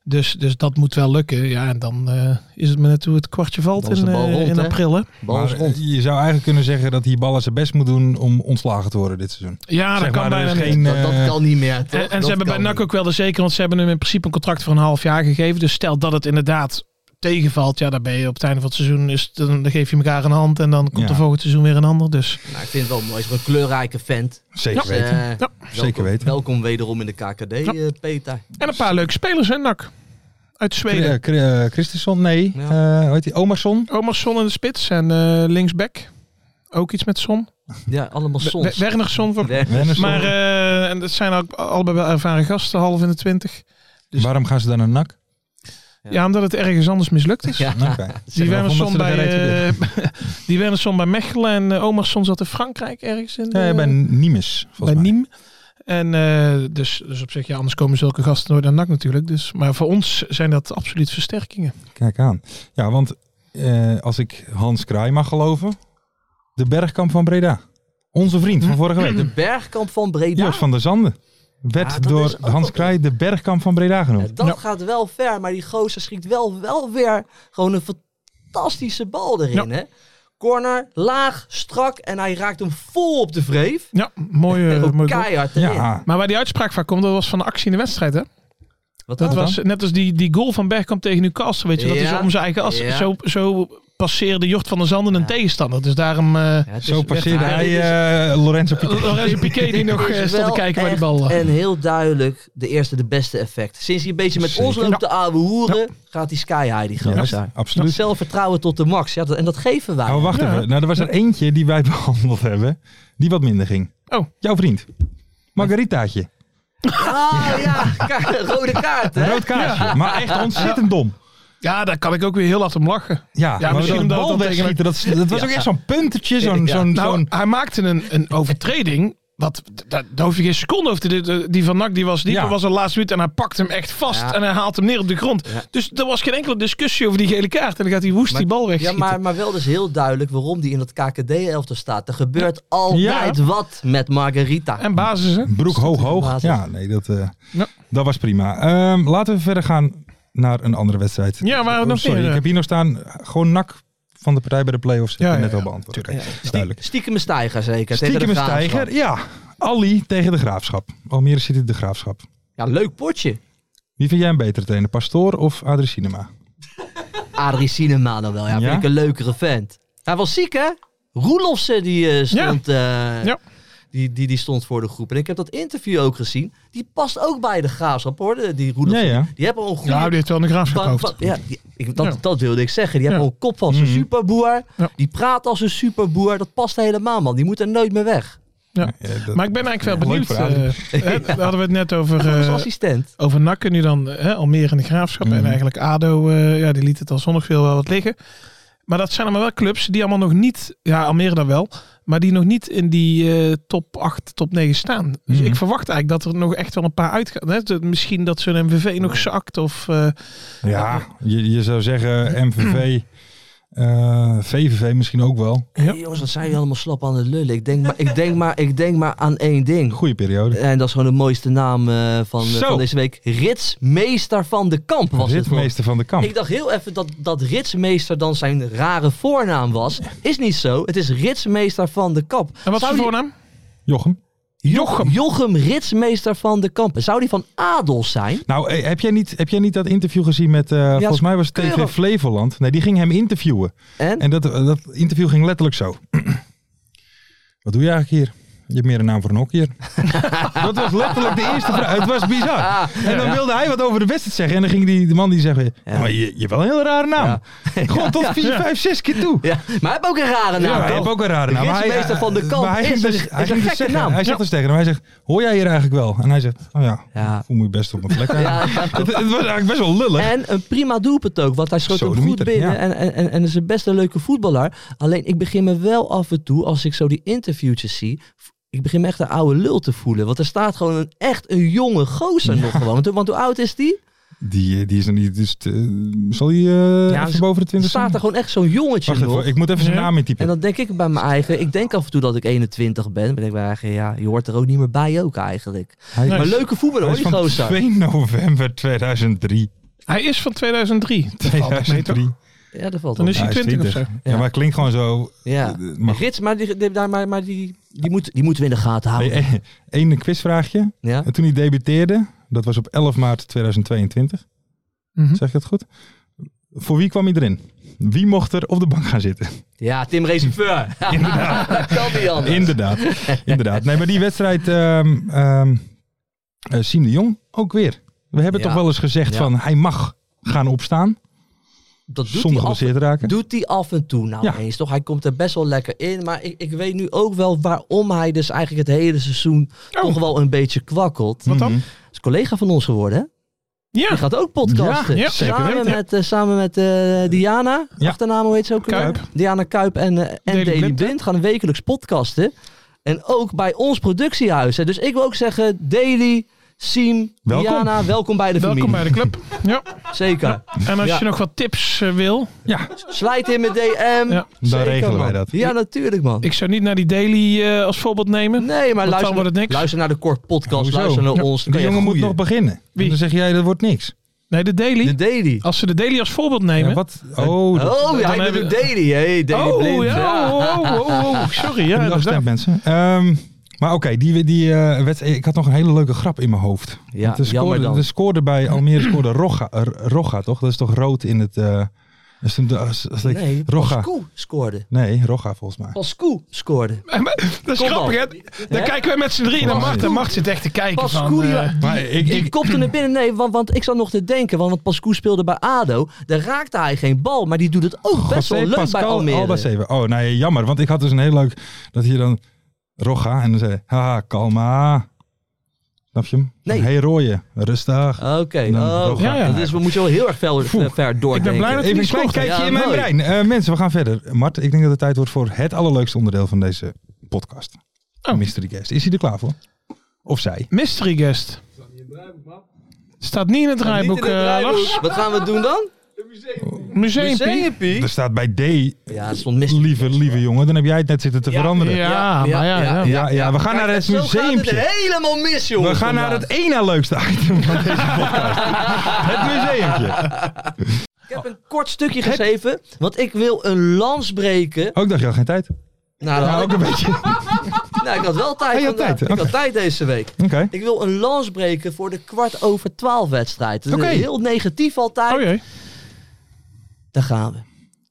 D: Dus, dus dat moet wel lukken. Ja, en dan eh, is het maar net hoe het kwartje valt
C: Dan is
D: in,
C: de bal
D: eh,
C: rond,
D: in
C: hè?
D: april. Hè?
C: Bal is
E: Maar,
C: rond.
E: eh, je zou eigenlijk kunnen zeggen dat Hiballa zijn best moet doen om ontslagen te worden dit seizoen.
D: Ja,
E: Zeg
D: dat kan
E: maar, er
D: bijna
E: is
D: niet.
E: geen
C: dat, dat
E: eh,
C: kan niet meer. toch?
D: En, en
C: Dat
D: ze hebben bij
C: kan
D: NAC
C: niet.
D: ook wel de zeker, want ze hebben hem in principe een contract voor een half jaar gegeven. Dus stel dat het inderdaad tegenvalt, ja, dan ben je op het einde van het seizoen, is, het- dan, dan geef je elkaar een hand en dan komt
E: Ja.
D: er volgend seizoen weer een ander. Dus
C: Nou, ik vind het wel mooi. Hij is wel een kleurrijke vent.
E: Zeker
C: Dus,
E: weten.
C: eh, welkom,
E: Zeker weten.
C: Welkom wederom in de KKD,
D: Ja.
C: eh, Peter.
D: En een paar leuke spelers, hè, NAC. Uit Zweden.
E: Cri- eh, Christensen, nee.
C: Ja.
E: Eh hoe heet die? Omerson?
D: Omarsson in de spits en eh, linksback. Ook iets met Son.
C: Ja, allemaal
D: We-
C: soms.
D: We- Wernersson. Voor...
E: Wernersson.
D: Maar eh, en dat zijn ook allebei wel ervaren gasten, half in de twintig. dus-
E: Waarom gaan ze dan naar NAC?
C: Ja.
D: Ja, omdat het ergens anders mislukt is.
C: ja.
D: (laughs) Die
E: Oké. Zeg maar, omdat
D: Wernersson
E: ze er
D: bij,
E: geen reet
D: eh, (laughs) die Wernersson bij Mechelen en eh, Omarsson zat in Frankrijk ergens. In de-
E: Ja, bij Nimes,
D: bij
E: volgens mij.
D: Niem. En eh, dus, dus op zich, ja, anders komen zulke gasten nooit aan NAC natuurlijk. Dus, maar voor ons zijn dat absoluut versterkingen.
E: Kijk aan. Ja, want eh, als ik Hans Kraai mag geloven, de Bergkamp van Breda. Onze vriend
D: Hm.
E: van vorige week, de
C: eh, Bergkamp van Breda.
E: Joost van der Zanden, werd
C: Ja, dat
E: door
C: is ook
E: Hans
C: wel-
E: Kraai de Bergkamp van Breda
C: Ja,
E: genoemd.
C: dat gaat wel ver, maar die gozer schiet wel, wel weer gewoon een fantastische bal erin. Hè? Corner, laag, strak en hij raakt hem vol op de vreef.
D: Ja, mooie,
C: en
D: eh,
C: (laughs) ook
D: mooie goal.
C: keihard erin.
E: Ja,
D: Maar waar die uitspraak van komt, dat was van de actie in de wedstrijd. Hè?
C: Wat
D: Dat
C: dan?
D: was net als die, die goal van Bergkamp tegen Newcastle. Weet je, dat
C: Ja.
D: is om zijn eigen as.
C: Ja.
D: Zo, zo passeerde Jort van der Zanden een
C: Ja.
D: tegenstander. Dus daarom eh
C: Ja, het is
E: zo
C: echt-
E: passeerde
C: ja,
E: hij
C: dit is-
E: eh, Lorenzo Pieter.
D: Lorenzo Piquet
C: (laughs)
D: die
C: dit
D: nog
C: is
D: eh, stond
C: wel
D: te kijken bij die
C: echt
D: bal. lag.
C: En heel duidelijk de eerste, de beste effect. Sinds hij een beetje met
E: Zeker.
C: ons loopt te ouwe hoeren, gaat die sky high die
E: Ja,
C: gozer.
E: absoluut.
C: Zelfvertrouwen tot de max. Ja, dat- en dat geven wij.
E: Oh, wacht
D: Ja.
E: even. Nou, er was er eentje die wij (laughs) behandeld hebben, die wat minder ging.
D: Oh.
E: Jouw vriend. Margaritaatje.
C: Ah, ja. Ka- rode kaart, hè?
E: Rood kaartje. Maar echt ontzettend dom.
D: Ja, daar kan ik ook weer heel hard om lachen.
E: Ja,
D: Ja,
E: maar
D: misschien
E: dat
D: omdat het
E: bal
D: dan tegen-
E: wegschieten, dat, dat was ook echt zo'n puntetje, zo'n...
C: Ja.
E: zo'n
D: Nou,
E: zo'n-
D: hij maakte een, een overtreding. Wat, daar, daar hoef je geen seconde over te de- de- Die van Nak die was diep,
E: Ja.
D: was al laatste minuut. En hij pakt hem echt vast
C: Ja.
D: en hij haalt hem neer op de grond.
C: Ja.
D: Dus er was geen enkele discussie over die gele kaart. En dan gaat hij woest die bal weg.
C: Ja, maar, maar wel dus heel duidelijk waarom die in dat KKD-elftal staat. Er gebeurt altijd wat met Margarita.
D: En basis, hè?
E: Broek hoog hoog.
C: basis.
E: Ja, nee, dat, eh,
D: Ja.
E: dat was prima. Ehm, laten we verder gaan naar een andere wedstrijd.
D: Ja, waar we
E: Oh,
D: nog
E: Sorry,
D: meer,
E: ik
D: eh.
E: heb hier nog staan. Gewoon nak van de partij bij de play-offs heb
D: Ja,
E: je
D: ja,
E: net al
D: ja,
E: beantwoord. Oké,
C: Ja.
E: is duidelijk.
C: Stiekem een stijger zeker. tegen
E: Stiekem een
C: de Graafschap.
E: stijger. Ja, Ali tegen de Graafschap. Almere City de Graafschap.
C: Ja, leuk potje.
E: Wie vind jij een betere trainer, Pastoor of Adrie Cinema?
C: Adrie Cinema dan wel. Ja,
E: Ja?
C: vind ik een leukere vent. Hij was ziek, hè? Roelofsen die eh, stond... eh,
D: Ja.
C: Die, die, die stond voor de groep. En ik heb dat interview ook gezien. Die past ook bij de graafschap, hoor. de- Die Roelofsen.
E: Ja, ja.
C: Die hebben al een goede...
D: Nou, die heeft wel een graafschap
C: Van-
D: hoofd.
C: van- ja, die- ik, dat,
D: Ja.
C: dat wilde ik zeggen. Die hebben
D: Ja.
C: al een kop van een
E: Mhm.
C: superboer.
D: Ja.
C: Die praat als een superboer. Dat past helemaal, man. Die moet er nooit meer weg.
D: Ja.
E: dat-
D: Maar ik ben eigenlijk
E: Ja,
D: wel benieuwd.
E: leuk voor Adrie.
C: (laughs)
D: eh, hè, daar hadden we het net over,
C: Als
D: eh
C: assistent.
D: over Nakken, nu dan eh, Almere en de Graafschap.
E: Mhm.
D: En eigenlijk ADO, eh, ja, die liet het al zonnig veel wel wat liggen. Maar dat zijn allemaal wel clubs die allemaal nog niet, ja Almere dan wel, maar die nog niet in die eh, top 8, top 9 staan. Dus
E: Mhm.
D: ik verwacht eigenlijk dat er nog echt wel een paar uitgaan. Hè? Dat- Misschien dat zo'n MVV nog zakt of... eh,
E: Ja, je, je zou zeggen MVV, (clears throat) eh, VVV misschien ook wel.
D: Ja.
C: Hey, jongens, wat zijn jullie allemaal slap aan het lullen. Ik denk, maar, ik, denk maar, ik denk maar aan één ding.
E: Goede periode.
C: En dat is gewoon de mooiste naam eh, van, eh,
E: Zo.
C: van deze week. Ritsmeester van de Kamp was het. nog.
E: Ritmeester van de kamp.
C: Ik dacht heel even dat, dat Ritsmeester dan zijn rare voornaam was. Is niet zo. Het is Ritsmeester van de Kamp.
D: en wat is
C: Zou
D: de
C: die-
D: voornaam?
E: Jochem.
D: Jochem.
C: Jochem Ritsmeester van de Kamp. Zou die van adel zijn?
E: Nou, eh, heb jij niet, heb jij niet dat interview gezien met, eh, volgens mij was het TV
C: keurig.
E: Flevoland. Nee, die ging hem interviewen.
C: En?
E: En dat, eh, dat interview ging letterlijk zo. (clears throat) Wat doe je eigenlijk hier? Je hebt meer een naam voor een hockeyer. (laughs) dat was letterlijk de eerste vraag. Het was
C: Ah,
E: bizar. En dan wilde hij wat over de wedstrijd zeggen. En dan ging die, de man die zeggen,
C: Ja.
E: maar je, je hebt wel een hele rare naam.
C: (laughs)
E: Gewoon tot vier, vijf, zes keer toe.
C: Ja, maar hij heeft ook een rare naam.
E: Ja, hij
C: toch?
E: heeft ook een rare naam.
C: De
E: Maar hij- eh,
C: ritsmeester van de kamp
E: maar hij
C: is
E: ging
C: een-
E: dus-
C: is
E: hij
C: een
E: ging dus
C: gekke
E: zeggen-
C: naam.
E: Hij zegt dus tegen hem, hij zegt, hoor jij hier eigenlijk wel? En hij zegt, oh ja,
C: Ja.
E: ik voel me hier best op mijn plek. eigenlijk." (laughs) het, het was eigenlijk best wel lullig.
C: En een prima doelpunt ook, want hij schoot hem goed
E: Sodemieter,
C: binnen
E: ja.
C: en, en, en, en is een best een leuke voetballer. Alleen ik begin me wel af en toe, als ik zo die interviewtjes zie, f- ik begin me echt een oude lul te voelen. Want er staat gewoon een, echt een jonge gozer nog gewoon. Want hoe oud is die?
E: Die, eh, die is nog niet, dus, eh, zal hij eh,
C: Ja,
E: even
C: dus-
E: boven de
C: Er
E: 20
C: staat er gewoon echt zo'n jongetje
E: Wacht
C: nog.
E: even, ik moet even zijn
D: Ja.
E: naam
C: En
E: intypen.
C: dan denk ik bij mijn eigen, ik denk af en toe dat ik 21 ben. Maar ik denk ik, ja, je hoort er ook niet meer bij ook eigenlijk.
E: Hij,
D: Nee.
C: Maar leuke voetballer
E: hij
C: hoor, die
E: is
C: gozer.
E: van 2
C: (laughs)
E: november 2003.
D: Hij is van 2003. Dat valt nog mee, toch?
E: 2003.
C: Ja, dat valt
D: Dan
C: wel.
D: is hij
E: Hij is
D: 20 of zo.
E: 20. Ja, maar het klinkt gewoon zo.
C: Ja.
E: eh, Maar goed.
C: Rits, maar die, die, daar- maar, maar die, die, moet, die moeten we in de gaten houden.
E: Hey, eh, Eén quizvraagje.
C: Ja?
E: En toen hij debuteerde, dat was op 11 maart 2022.
D: Mhm.
E: Zeg ik dat goed? Voor wie kwam hij erin? Wie mocht er op de bank gaan
C: (laughs)
E: zitten?
C: Ja, Tim Reserveur. Inderdaad. kan niet anders.
E: Inderdaad. Inderdaad. Nee, maar die wedstrijd, ehm ehm, eh, Siem de Jong, ook weer. We hebben
C: Ja.
E: toch wel eens gezegd
C: Ja.
E: van hij mag gaan opstaan
C: dat doet hij,
E: zonder
C: af,
E: geblesseerd te raken.
C: doet hij af en toe nou
E: Ja.
C: eens, toch? Hij komt er best wel lekker in. Maar ik, ik weet nu ook wel waarom hij dus eigenlijk het hele seizoen toch wel een beetje kwakkelt.
D: Oh. Wat dan?
E: Mhm.
C: Is collega van ons geworden, hè?
D: Ja.
C: Die gaat ook podcasten.
D: Ja, ja, zeker
C: samen,
D: weten.
C: met, eh, samen met eh, Diana,
E: Ja.
C: achternaam hoe heet ze ook? weer?
D: Kuip.
C: Diana Kuip en, eh, en
D: Daily
C: Daily
D: Blind, hè?
C: Blind gaan wekelijks podcasten. En ook bij ons productiehuis. Hè. Dus ik wil ook zeggen, Daily, Siem,
E: Welkom.
C: Diana, welkom bij de
D: Welkom bij
C: familie.
D: de club. Ja.
C: Zeker.
D: En als
C: Ja.
D: je nog wat tips eh, wil,
E: Ja,
C: Slijt in mijn DM.
D: Ja,
E: dan
C: Zeker,
E: regelen wij
C: man.
E: dat.
C: Ja, natuurlijk, man.
D: ik zou niet naar die daily eh, als voorbeeld nemen.
C: nee, maar
D: dan
C: luister,
D: wordt het niks.
C: luister naar de kort podcast.
E: Hoezo?
C: Luister naar ons.
E: Die jongen moet nog beginnen.
D: Wie?
E: Dan zeg jij, dat wordt niks.
D: Nee, de daily.
C: De Daily.
D: Als ze de daily als voorbeeld nemen.
E: Ja, wat? Oh, dat-
C: Oh, ja,
D: Oh, dan
C: hij
D: hebben-
C: bedoelt Daily. Hey, Daily
D: oh,
C: Blind.
D: ja, oh, oh, oh, oh, sorry. Ja,
E: Heb je afgestemd,
D: inderdaad.
E: mensen. Ehm, maar oké, die, die eh, wedstrijd- ik had nog een hele leuke grap in mijn hoofd.
C: Ja,
E: Want de
C: jammer
E: scoorde,
C: dan.
E: de scoorde bij Almere scoorde Roga, eh, Roga, toch? Dat is toch rood in het... eh is toen de- als- als ik-
C: Nee,
E: Roga.
C: Pascu scoorde.
E: Nee, Roga volgens mij.
C: Pascu scoorde.
D: En maar- (laughs) Dat is
C: Kom
D: grappig, hè? Dan
C: Hè?
D: kijken wij met z'n drieën naar
E: Pas
D: Mart. En
C: goed.
D: Mart zit echt te kijken
C: Pas
D: van...
C: goed,
D: eh,
C: ja.
E: Maar ik,
C: Ik
E: ik,
C: kopte hem binnen. Nee, want, want ik zat nog te denken. Want, want Pascu speelde bij ADO. Daar raakte hij geen bal. Maar die doet het ook best wel leuk bij Almere.
E: Oh, Albacete. Oh, nee, jammer. Want ik had dus een heel leuk... Dat je dan Roga en dan zei... Haha, kalma. Snap je hem?
C: Nee.
E: Hey, rooien. Rustig.
C: Oké.
E: Dan
C: oh,
E: Roga.
D: Ja, ja.
C: dat is, we moeten wel heel erg ver, eh,
E: Poeh.
C: ver
D: Ik
C: doordenken.
D: ben blij dat hij
E: Even
D: niet
E: een klein
D: scoort.
E: kijkje
C: Ja,
E: in mijn
C: mooi.
E: brein. Eh, mensen, we gaan verder. Mart, ik denk dat het tijd wordt voor het allerleukste onderdeel van deze podcast.
D: Oh.
E: Mystery Guest. Is hij er klaar voor? Of zij?
D: Mystery guest. Staat niet in het draaiboek, eh, Lars.
C: Wat gaan we doen dan?
D: Museumpie.
C: Museumpie?
E: Er staat bij D,
C: Ja, het stond mis.
E: lieve, lieve jongen. Dan heb jij het net zitten te
C: Ja.
E: veranderen.
D: Ja, maar ja, ja.
E: Ja, ja, we gaan naar het
C: zo gaat
E: museumpje.
C: het helemaal mis, jongen.
E: We gaan
C: (laughs)
E: naar het ene leukste item van deze podcast. het museumpje.
C: heb een kort stukje geschreven, want ik wil een lans breken.
E: Ook dacht je al geen tijd.
C: Nou, dan
E: Nou,
C: had ik,
E: ook een beetje. Oké.
C: nou, ik had wel tijd.
E: Oh, je had
C: vandaag.
E: tijd,
C: Ik had
E: oké.
C: tijd deze week. Ik wil een lans breken voor de kwart over twaalf wedstrijd. Dat is
E: Oké.
C: Heel negatief altijd.
D: Oh jee.
C: Daar gaan we.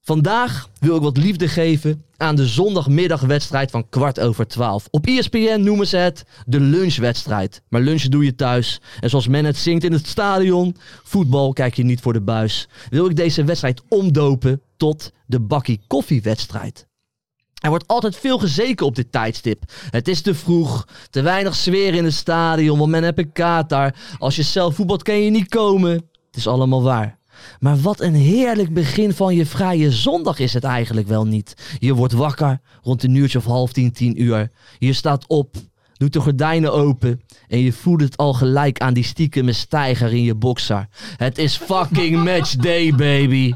C: Vandaag wil ik wat liefde geven aan de zondagmiddagwedstrijd van kwart over twaalf. Op E ESPN noemen ze het de lunchwedstrijd. Maar lunchen doe je thuis. En zoals men het zingt in het stadion, voetbal kijk je niet voor de buis. Wil ik deze wedstrijd omdopen tot de bakkie koffiewedstrijd. Er wordt altijd veel gezeken op dit tijdstip. Het is te vroeg, te weinig sfeer in het stadion, want men heeft een kater. Als je zelf voetbalt, kan je niet komen. Het is allemaal waar. Maar wat een heerlijk begin van je vrije zondag is het eigenlijk wel niet. Je wordt wakker rond een uurtje of half tien, tien uur. Je staat op, doet de gordijnen open en je voelt het al gelijk aan die stiekeme stijger in je boxer. Het is fucking match day, baby.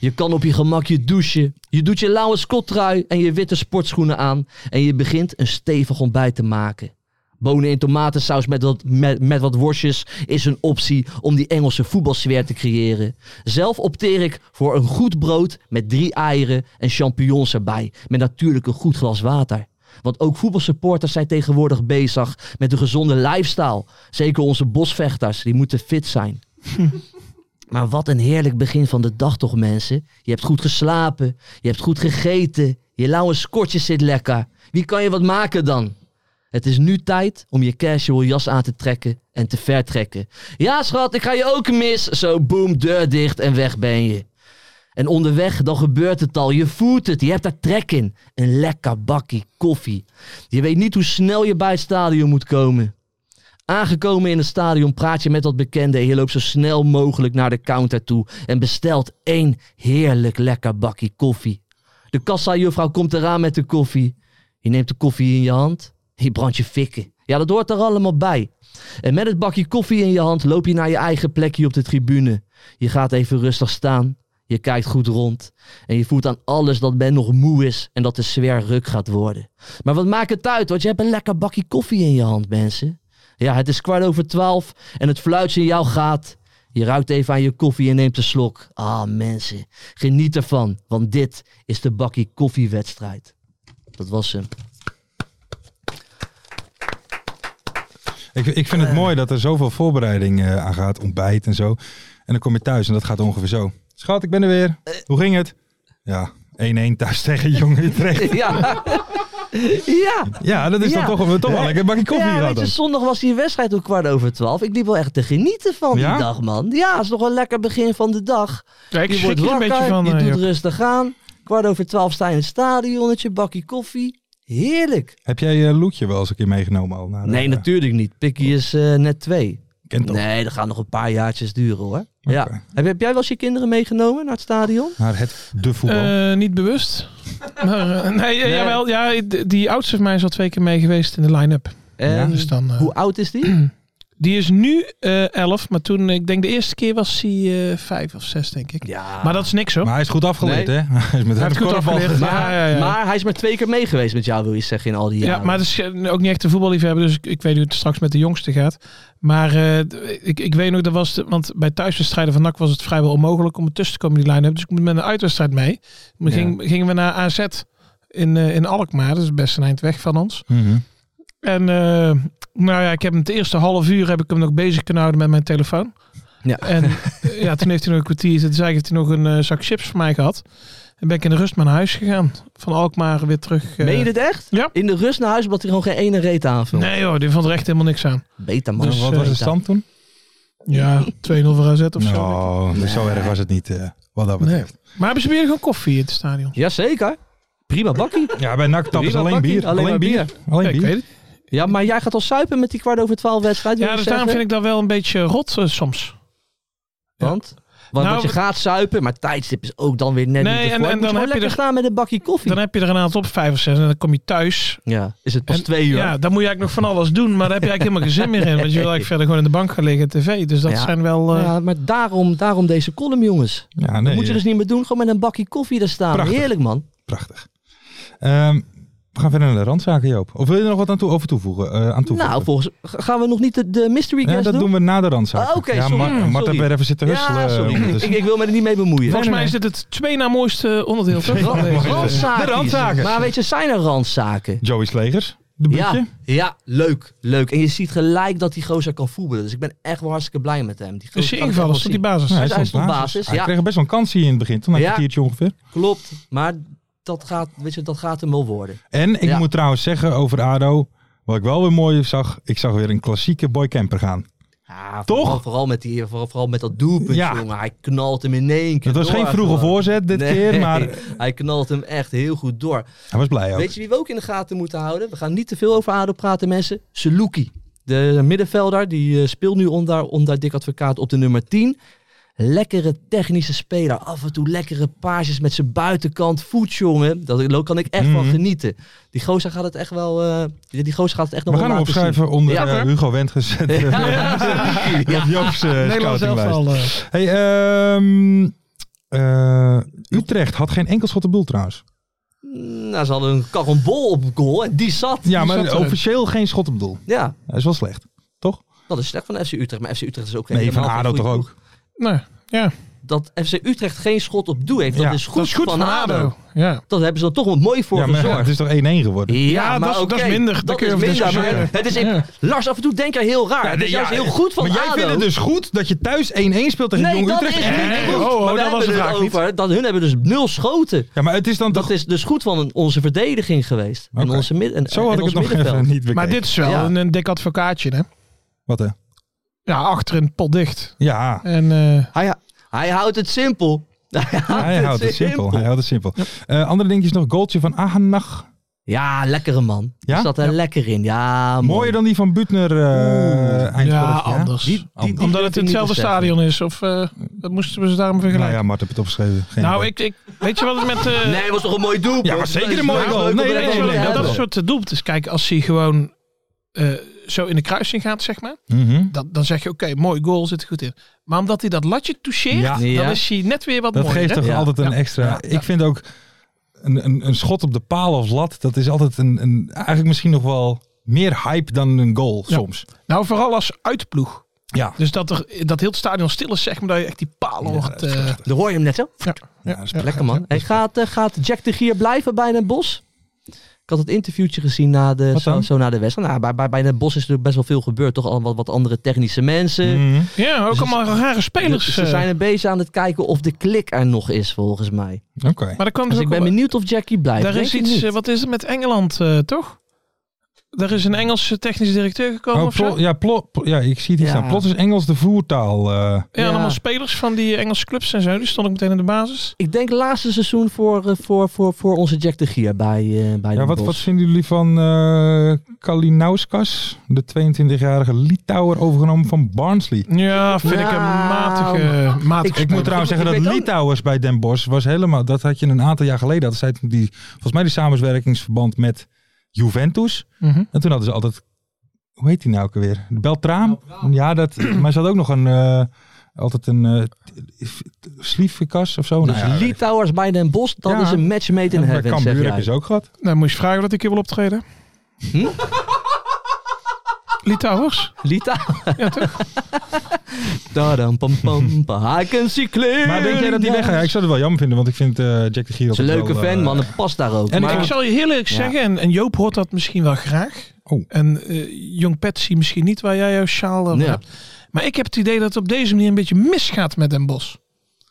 C: Je kan op je gemak je douchen. Je doet je lauwe skottrui en je witte sportschoenen aan. En je begint een stevig ontbijt te maken. Bonen in tomatensaus met wat, met, met wat worstjes is een optie om die Engelse voetbalsfeer te creëren. Zelf opteer ik voor een goed brood met drie eieren en champignons erbij. Met natuurlijk een goed glas water. Want ook voetbalsupporters zijn tegenwoordig bezig met een gezonde lifestyle. Zeker onze bosvechters, die moeten fit zijn. (laughs) Maar wat een heerlijk begin van de dag toch, mensen. Je hebt goed geslapen, je hebt goed gegeten, je lauwe skortje zit lekker. Wie kan je wat maken dan? Het is nu tijd om je casual jas aan te trekken en te vertrekken. Ja, schat, ik ga je ook mis. Zo, boem, deur dicht en weg ben je. En onderweg, dan gebeurt het al. Je voelt het, je hebt daar trek in. Een lekker bakkie koffie. Je weet niet hoe snel je bij het stadion moet komen. Aangekomen in het stadion praat je met dat bekende. Je loopt zo snel mogelijk naar de counter toe en bestelt één heerlijk lekker bakkie koffie. De kassa-juffrouw komt eraan met de koffie. Je neemt de koffie in je hand. Je brandt je fikken. Ja, dat hoort er allemaal bij. En met het bakje koffie in je hand loop je naar je eigen plekje op de tribune. Je gaat even rustig staan. Je kijkt goed rond. En je voelt aan alles dat men nog moe is en dat de sfeer ruk gaat worden. Maar wat maakt het uit? Want je hebt een lekker bakje koffie in je hand, mensen. Ja, het is kwart over twaalf en het fluitsignaal gaat. Je ruikt even aan je koffie en neemt een slok. Ah, mensen, geniet ervan, want dit is de bakkie koffiewedstrijd. Dat was hem.
E: Ik, ik vind het mooi dat er zoveel voorbereiding eh, aan gaat. Ontbijt en zo. En dan kom je thuis en dat gaat ongeveer zo. Schat, ik ben er weer. Hoe ging het? Ja, 1-1 thuis (laughs) tegen Jong Utrecht.
C: (laughs) Ja. ja.
E: Ja, dat is
C: Ja.
E: dan toch, we toch wel lekker een bakje koffie
C: ja,
E: gehad
C: weet je,
E: dan.
C: zondag was die wedstrijd om kwart over twaalf. Ik liep wel echt te genieten van
E: Ja?
C: die dag, man. Ja, het is nog een lekker begin van de dag.
D: Ja, ik
C: je
D: schrik
C: wordt
D: er een
C: wakker,
D: beetje van.
C: je
D: eh,
C: doet
D: Joop.
C: rustig aan. Kwart over twaalf sta je in het stadionnetje, bakje koffie. Heerlijk.
E: Heb jij eh, Loetje wel eens een keer meegenomen al? naar de-
C: Nee, natuurlijk niet. Pikkie is eh, net twee.
E: Kent toch?
C: Nee, dat gaat nog een paar jaartjes duren hoor. Ja.
E: Oké.
C: Heb, heb jij wel eens je kinderen meegenomen naar het stadion?
E: Naar het de voetbal.
D: Eh, niet (laughs) bewust. maar, eh, nee, eh,
C: Nee.
D: Jawel, ja, d- die oudste van mij is al twee keer mee geweest in de line-up.
C: En
D: Dus dan, eh,
C: hoe oud is
D: (clears throat)
C: die?
D: die is nu eh elf, maar toen, ik denk de eerste keer was hij eh, vijf of zes, denk ik.
C: Ja.
D: Ah. Maar dat is niks hoor.
E: maar hij is goed afgeleid,
C: Nee.
E: hè? (laughs) Hij is met
D: Hij heeft goed afgeleerd.
C: Maar,
D: Ja, ja, ja.
C: maar hij is maar twee keer mee geweest met jou, wil je zeggen, in al die
D: eh, Ja,
C: jaren.
D: maar het is eh, ook niet echt een voetballiefhebber, dus ik, ik weet hoe het straks met de jongste gaat. Maar eh, d- ik, ik weet nog, dat was de, want bij thuiswedstrijden van NAC was het vrijwel onmogelijk om er tussen te komen in die line-up. Dus ik moet met een uitwedstrijd mee. Maar ging, gingen we naar AZ in, eh, in Alkmaar, dat is best een eind weg van ons.
E: Mhm.
D: En eh, nou ja, ik heb hem het eerste half uur heb ik hem nog bezig kunnen houden met mijn telefoon.
C: Ja.
E: (laughs)
D: En eh, ja, toen heeft hij nog een kwartier, toen zei ik, heeft hij nog een eh, zak chips voor mij gehad. En ben ik in de rust maar naar huis gegaan. Van Alkmaar weer terug. eh,
C: Meen je dit echt?
D: Ja.
C: In de rust naar huis, omdat hij gewoon geen ene reet aanvult.
D: Nee hoor, die vond er echt helemaal niks aan.
C: Beta man.
D: Dus,
E: wat
D: eh,
E: was de stand toen? (laughs)
D: Ja, 2-0 voor AZ of zo.
E: Nou, dus zo erg was het niet, eh, wat dat betreft.
D: Maar hebben ze weer gewoon koffie in het stadion?
C: Jazeker. Prima bakkie.
E: Ja, bij NAC tappen ze
C: Prima
E: alleen
C: bakkie,
E: bier.
C: alleen maar
E: Alleen bier.
D: Ja,
E: Alleen
D: ik
E: bier.
D: weet het.
C: Ja, maar jij gaat al suipen met die kwart over twaalf wedstrijd.
D: Ja, dus daarom vind ik dat wel een beetje rot eh, soms.
C: Want? Want,
D: Nou,
C: want je gaat suipen, maar tijdstip is ook dan weer net
D: Nee,
C: niet
D: en-
C: ervoor.
D: en
C: Moet je
D: dan
C: gewoon
D: heb je
C: lekker
D: er-
C: staan met een bakje koffie.
D: Dan heb je er een aantal op, vijf of zes, en dan kom je thuis.
C: Ja, is het pas
D: En-
C: twee uur.
D: Ja, dan moet je eigenlijk nog van alles doen, maar daar heb je eigenlijk helemaal geen zin meer in. Want je wil eigenlijk verder gewoon in de bank gaan liggen tv. Dus dat
C: Ja.
D: zijn wel... eh,
C: Ja, maar daarom, daarom deze column, jongens.
E: Ja,
C: Dat
E: nee,
C: moet je
E: eh,
C: dus niet meer doen. Gewoon met een bakje koffie daar staan.
E: Prachtig.
C: Heerlijk, man.
E: Prachtig. Ehm, We gaan verder naar de randzaken, Joop. Of wil je er nog wat aan, toe, over toevoegen, eh, aan toevoegen?
C: Nou, volgens gaan we nog niet de, de mystery
E: Ja,
C: guest
E: dat doen we na de randzaken.
C: Ah, oké,
E: ja,
C: sorry.
E: Mar- Marta
C: Sorry.
E: werd even zitten husselen.
C: Ja,
E: eh,
C: sorry. ik,
E: ondertussen.
C: (laughs) ik wil me er niet mee bemoeien.
D: Volgens mij
E: nee.
D: is dit het twee na mooiste onderdeel, toch? van deze.
C: Randzaken.
E: De randzaken.
C: Maar weet je, zijn er randzaken?
E: Joey Slegers, de
C: Ja,
E: buurtje.
C: ja, leuk, leuk. En je ziet gelijk dat die gozer kan voetballen. Dus ik ben echt wel hartstikke blij met hem. Die gozer
D: Dus je
C: kan het
D: invallen,
C: echt
D: stond die
C: wel
D: basis.
E: hij
C: hij
E: stond
C: stond basis,
E: Hij
C: ja.
E: kreeg best wel een kans hier in het begin, toen een
C: Ja.
E: kwartiertje ongeveer.
C: zien. Klopt, maar dat gaat, weet je, dat gaat hem wel worden.
E: En ik
C: Ja.
E: moet trouwens zeggen over ADO, wat ik wel weer mooi zag, ik zag weer een klassieke boy camper gaan.
C: Ja,
E: Toch?
C: Vooral, vooral met die, vooral, vooral met dat doelpunt,
E: Ja.
C: jongen. Hij knalt hem in één keer
E: Het was
C: door
E: geen vroege
C: gewoon.
E: voorzet dit
C: eh, Nee,
E: keer, maar
C: (laughs) hij knalt hem echt heel goed door.
E: hij was blij ook.
C: Weet je wie we ook in de gaten moeten houden? We gaan niet te veel over ADO praten, mensen. Saluki, de middenvelder, die eh, speelt nu onder, onder Dick Advocaat op de nummer 10. Lekkere technische speler. Af en toe lekkere paasjes met zijn buitenkant voet, jongen. Daar kan ik echt van
E: Mhm.
C: genieten. Die gozer gaat het echt wel... eh, die die gozer gaat het echt nog
E: We
C: wel
E: gaan hem
C: laten zien.
E: opschrijven
C: (laughs)
E: onder
C: Ja,
E: eh,
C: hoor.
E: Hugo Wendges. (laughs)
C: Ja.
E: Of Joop's eh,
D: Nederland zelf
E: scoutinglijst.
D: al. eh,
E: Hey, ehm, eh, Utrecht had geen enkel schot op doel trouwens.
C: Nou, ze hadden een karonbol op goal en die zat.
E: Ja,
D: zat
E: maar
D: erin.
E: officieel geen schot op doel.
C: Ja,
E: Dat is wel slecht.
C: dat is slecht van FC Utrecht. Maar FC Utrecht is ook...
E: Nee, van
C: helemaal geen
E: ADO
C: goede
E: toch
C: ploeg.
E: ook.
D: Nou, ja.
C: Dat FC Utrecht geen schot op doel heeft, dat
E: Ja,
C: is goed,
D: Dat is goed van ADO. Ja.
C: Dat hebben ze dan toch wel mooi voor
E: Ja, maar
C: gezorgd.
E: het is toch 1-1 geworden?
D: Ja, dat is- dat is
C: oké,
D: minder. Daar
C: Dat
D: kun je
C: is
E: dus
D: over
C: minder.
D: discussiëren.
C: maar het is even-
D: Ja.
C: Lars, af en toe denk jij heel raar. het is
E: nee,
C: juist
E: ja, eh,
C: heel goed van
E: maar jij
C: ADO.
E: vindt het dus goed dat je thuis 1-1 speelt tegen
C: nee,
E: Jong
C: dat
E: Utrecht?
C: is
E: Eh,
C: niet goed.
D: oh, oh,
C: maar we
D: dat was
C: hebben
D: de
C: het
D: vraag niet.
C: over dat hun hebben dus nul schoten.
E: Ja, maar het is dan toch...
C: Dat is dus goed van een- onze verdediging geweest. En
E: Oké.
C: onze mid- en,
E: Zo had
C: en
E: ik
C: ons
E: het nog even
C: middenveld.
E: niet bekeken.
D: Maar dit is wel
C: Ja.
D: een, een dik advocaatje, hè?
E: Wat hè?
D: Ja, achterin pot dicht.
C: (laughs)
E: Ja,
D: En eh,
C: Hij, hij houdt het simpel. Hij houdt,
E: hij houdt het simpel. Hij houdt het simpel. Eh, andere dingetje is nog goaltje van Ahanag.
C: Ja, lekkere man.
E: Ja?
C: Ja? Zat er lekker in. Ja, man.
E: Mooier dan die van Butner eh eind vorig
D: ja,
E: jaar.
D: anders. Omdat
E: Anders.
C: durf
D: het
C: je
D: in
C: niet
D: hetzelfde
C: te zeggen.
D: stadion is. Of eh, dat moesten we ze daarom
E: Nou
D: vergelijken?
E: ja, Mart heb het opgeschreven. Geen
D: Nou,
E: idee.
D: ik, ik, weet je wat het met... eh,
E: (laughs)
C: Nee, het was toch een mooi doelpunt?
E: Ja, was zeker een mooie
C: Ja,
E: goal.
C: leuk om
E: Nee,
C: er
E: nee,
C: even
D: Weet je
C: over
D: wat
C: te
D: het met dat
C: hebben.
D: soort doelpunten. Dus Kijk, als hij gewoon eh, zo in de kruising gaat, zeg maar.
E: Mhm.
D: Dan, dan zeg je, oké, mooi goal, zit er goed in. Maar omdat hij dat latje toucheert,
E: Ja.
C: Ja.
D: dan is hij net weer wat
E: Dat
D: mooier.
E: geeft
D: hè?
E: toch
C: Ja.
E: altijd een
D: Ja.
E: extra...
D: Ja.
E: Ik vind ook een, een, een schot op de paal of lat, dat is altijd een, een, eigenlijk misschien nog wel meer hype dan een goal
D: Ja.
E: soms.
D: Nou, vooral als uitploeg.
E: Ja.
D: Dus dat, er, dat heel het stadion stil is, zeg maar, dat je echt die palen
E: Ja,
D: hoort.
E: dat is
D: eh,
E: prachtig.
C: Dan hoor je hem net zo.
E: Ja, dat is prachtig.
C: Lekker man. Hey, gaat, eh, gaat Jack de Gier blijven bij Den Bos? Ik had het interviewtje gezien na de,
E: Wat
C: zo,
E: dan?
C: zo na de wedstrijd. Nou, bij, bij, bij Den Bos is natuurlijk best wel veel gebeurd. Toch al wat, wat andere technische mensen.
E: Mhm.
D: ja, ook
C: Dus het-
D: allemaal rare spelers.
C: Dus ze
D: eh.
C: zijn een beetje aan het kijken of de klik er nog is, volgens mij.
E: Oké.
D: Maar er kwam
C: Dus
D: dus
C: ik
D: ook
C: ben
D: wel-
C: benieuwd of Jackie blijft.
D: Daar
C: Denk
D: is
C: ik
D: iets,
C: niet.
D: eh, wat is het met Engeland, eh, toch? Er is een Engelse technische directeur gekomen
E: Oh,
D: of zo.
E: plo- ja, plo- plo- ja, ik zie het hier
C: Ja.
E: staan. Plots is Engels de voertaal. eh.
D: ja,
C: ja.
D: allemaal spelers van die Engelse clubs en zo. Die stond ik meteen in de basis.
C: Ik denk laatste seizoen voor, eh, voor, voor, voor onze Jack de Gier bij, eh bij
E: Ja,
C: Den
E: wat,
C: Bosch.
E: wat vinden jullie van eh Kalinauskas, de 22-jarige Litouwer overgenomen van Barnsley?
D: Ja, vind ik een
C: Nou,
D: matige... matige
E: Ik moet
D: speler.
E: trouwens
C: ik
E: zeggen dat
C: weet ook-
E: Litouwers bij Den Bosch was helemaal. Dat had je een aantal jaar geleden. Hadden zij toen die, volgens mij die samenwerkingsverband met Juventus.
D: Mhm.
E: En toen hadden ze altijd. Hoe heet die nou ook alweer? Beltraam? Ja, dat, (clears throat) maar ze had ook nog een. eh, altijd een. eh, Sliefkas of zo.
C: Dus
E: Nou ja,
C: Litouwers bij Den Bos, dat
E: Ja.
C: is een match made in
E: bij
C: heaven, zeg
E: Cambuur heb
C: jij.
E: je ze ook gehad.
D: Nou, moet je eens vragen dat ik hier wil optreden.
C: Hm?
D: Litouwers?
C: Lita. Ja, toch? (laughs) Dadam, pam, pam, pam. I can see clear.
E: Maar denk jij dat die weg gaat? Ja, ik zou het wel jammer vinden, want ik vind eh, Jack de Gier.
C: Het is een
E: altijd
C: leuke
E: wel, eh,
C: fan, man. Het past daar ook.
E: En
C: maar,
D: Ik zal je heel eerlijk
C: Ja.
D: zeggen, en, en Joop hoort dat misschien wel graag.
E: Oh.
D: En eh, Jong Patsy misschien niet, waar jij jouw sjaal over
C: Ja.
D: hebt. Maar ik heb het idee dat het op deze manier een beetje misgaat met Den Bos.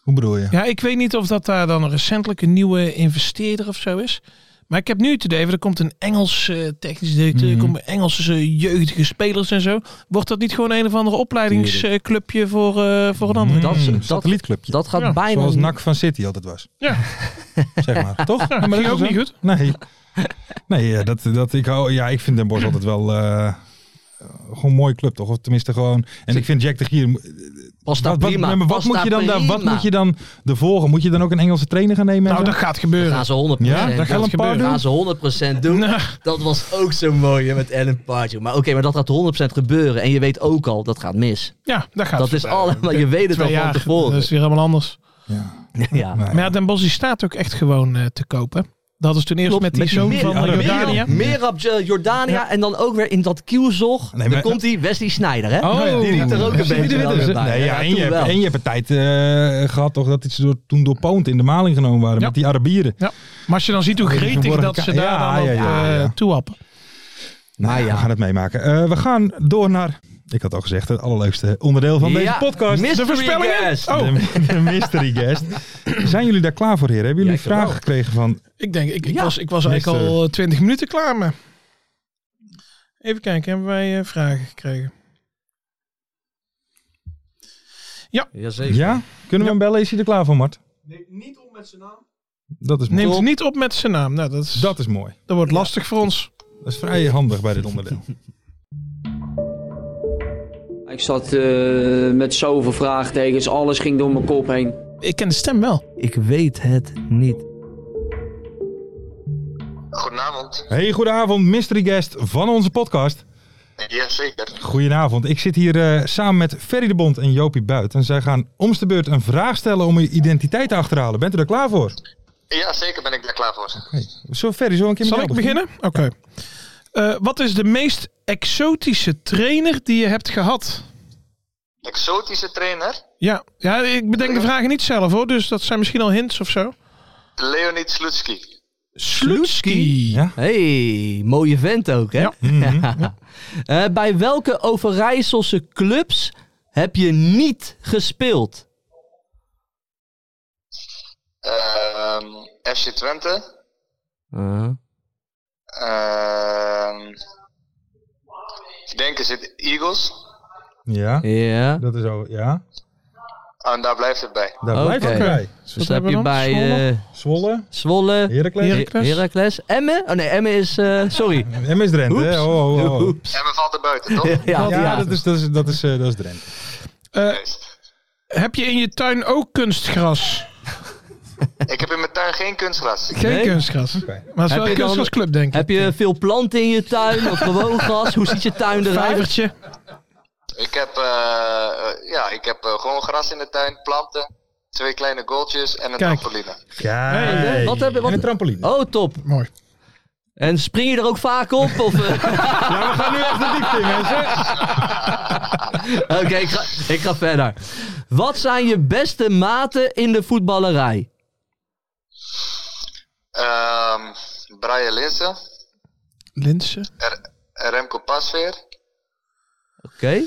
E: Hoe bedoel je?
D: Ja, ik weet niet of dat daar dan recentelijk een nieuwe investeerder of zo is. Maar ik heb nu het idee, want er komt een Engels eh, technisch directeur, er
E: Mhm.
D: komen Engelse eh, jeugdige spelers en zo. Wordt dat niet gewoon een of andere opleidingsclubje voor, eh, voor een andere?
C: dat-
E: Mm,
C: dat-
E: satellietclubje.
C: dat gaat
D: Ja,
C: bijna...
E: Zoals
C: niet.
E: NAC van City altijd was.
D: Ja.
E: (laughs) zeg maar, toch?
D: Ja, maar dat is ook niet goed.
E: Nee. Nee, ja, dat, dat, ik, hou, ja, ik vind Den Bosch altijd wel... eh, gewoon een mooie club, toch? Of tenminste gewoon... En ik vind Jack de Gier...
C: Past daar
E: Wat, wat,
C: prima.
E: maar wat,
C: past
E: moet je dan, daar- wat
C: prima.
E: moet je dan de volgen? Moet je dan ook een Engelse trainer gaan nemen? en
D: Nou,
E: zo?
D: dat gaat gebeuren.
C: Gaan ze 100%.
E: ja, daar gaan
C: doen.
E: we een paar
D: gebeuren.
E: doen.
C: Gaan ze 100% doen.
D: Nou,
C: Dat was ook zo mooi hè, met Ellen Pardew. Maar oké, maar dat gaat 100% gebeuren. En je weet ook al, dat gaat mis.
D: ja, dat gaat
C: Dat is
D: gebeuren.
C: allemaal, je weet het
D: Twee
C: al van
D: jaar,
C: tevoren.
D: dat is weer helemaal anders.
E: Ja.
C: Ja.
E: Nee.
D: Maar ja, Den Bos die staat ook echt gewoon eh, te kopen. Dat is toen eerst
C: Klopt,
D: met die zoon
C: Mer-
D: van eh,
C: Merab-
D: Jordania.
C: Merab eh, Jordania en dan ook weer in dat kielzog.
E: Nee,
C: dan
E: maar-
C: komt die Wesley Sneijder, hè? Nou
E: Nou
D: Oh,
C: die liet er ook een beetje wel weer bij.
E: Nee, ja,
C: Ja,
E: en, je
C: toen
E: hebt,
C: wel.
E: en je hebt een tijd eh, gehad toch dat ze door, toen door Poont in de maling genomen waren
D: Ja.
E: met die Arabieren.
D: Maar als je dan ziet hoe
E: Die
D: gretig
E: verborgen
D: dat ze
E: ka-
D: daar
E: Ja,
D: dan op
E: ja, ja,
D: eh,
E: ja.
D: toehappen.
E: Nou,
C: Maar Ah, ja.
E: we gaan het meemaken. Eh, we gaan door naar, ik had al gezegd, het allerleukste onderdeel van deze
C: Ja,
E: podcast.
C: mystery
E: de voorspellingen.
C: guest.
E: Oh. De, (laughs) de mystery guest. Zijn jullie daar klaar voor, heren? Hebben jullie
C: Ja, ik wel.
E: vragen gekregen van...
D: Ik denk, ik, ik
C: Ja.
D: was, ik was eigenlijk
E: Mister.
D: al eh, 20 minuten klaar mee. Even kijken, hebben wij eh, vragen gekregen?
C: Jazeker.
E: Ja? Kunnen we hem bellen? Is hij er klaar voor, Mart? Neemt niet op met zijn naam. Dat is mooi.
D: Neemt ze niet op met zijn naam. Nou, dat, is, dat,
E: Dat is mooi.
D: wordt lastig voor ons.
E: Dat is vrij handig bij dit onderdeel.
G: Ik zat eh, met zoveel vraagtekens, alles ging door mijn kop heen.
D: Ik ken de stem wel.
C: Ik weet het niet.
H: Goedenavond.
E: Hey, goedenavond, mystery guest van onze podcast.
H: Jazeker.
E: Goedenavond. Ik zit hier eh, samen met Ferry de Bond en Jopie Buit. En zij gaan om de beurt een vraag stellen om je identiteit te achterhalen. Bent u daar klaar voor?
H: Jazeker ben ik daar klaar voor.
E: Oké. Zo, Ferry, zo een keer met
D: Zal
E: jou
D: ik beginnen? Oké. Eh, wat is de meest exotische trainer die je hebt gehad?
H: Exotische trainer,
D: Ja, ja ik bedenk de vragen niet zelf hoor, dus dat zijn misschien al hints of zo.
H: Leonid Slutski.
D: Slutski.
E: Ja?
C: hey, mooie vent ook, hè?
D: Ja.
C: (laughs) Eh, bij welke Overijsselse clubs heb je niet gespeeld?
H: Ehm, FC Twente.
C: Eh,
H: Ehm ik denk is het Eagles.
E: Ja,
C: Ja. dus
E: dat is al. Ja,
H: Oh, En daar blijft het bij.
E: daar
C: Oké.
E: blijft het bij.
C: Dus
D: Wat
C: heb
D: hebben we
C: je
D: dan?
C: bij
D: Zwolle?
C: eh,
E: Zwolle,
C: Zwolle,
E: Heracles.
C: He- Heracles, Emmen. Oh nee, Emmen is... eh, sorry. (laughs)
E: MS Drenthe. hè? Oh, oh, oh.
C: Oeps.
H: En we valt er buiten, toch?
C: (laughs) Ja, ja,
E: Ja, dat is, dat, is, dat, is, eh, dat is Drenthe.
D: Eh,
H: Juist.
D: heb je in je tuin ook kunstgras?
H: Ik heb in mijn tuin geen kunstgras.
D: Geen
C: Nee.
D: kunstgras.
E: Oké.
D: Maar het is
C: Heb
D: wel
C: je
D: een
C: dan-
D: kunstgrasclub, denk ik.
C: Heb
E: eh,
C: je veel planten in je tuin of
E: (laughs)
C: gewoon gras? Hoe ziet je tuin eruit?
D: Vijvertje.
H: Ik heb, eh, eh, ja, ik heb eh, gewoon gras in de tuin, planten, twee kleine goaltjes en een
D: Kijk.
H: trampoline.
E: Kijk.
C: wat heb je- wat-
E: En een trampoline.
C: Oh, top.
D: Mooi.
C: En spring je er ook vaak op? Of, eh?
E: (laughs) Ja, we gaan nu echt de diepte in, mensen.
C: Oké, ik, ga, ik ga verder. Wat zijn je beste maten in de voetballerij?
H: Ehm Brian Linsen,
D: Linsen.
H: R- Remco Pasveer,
C: Oké.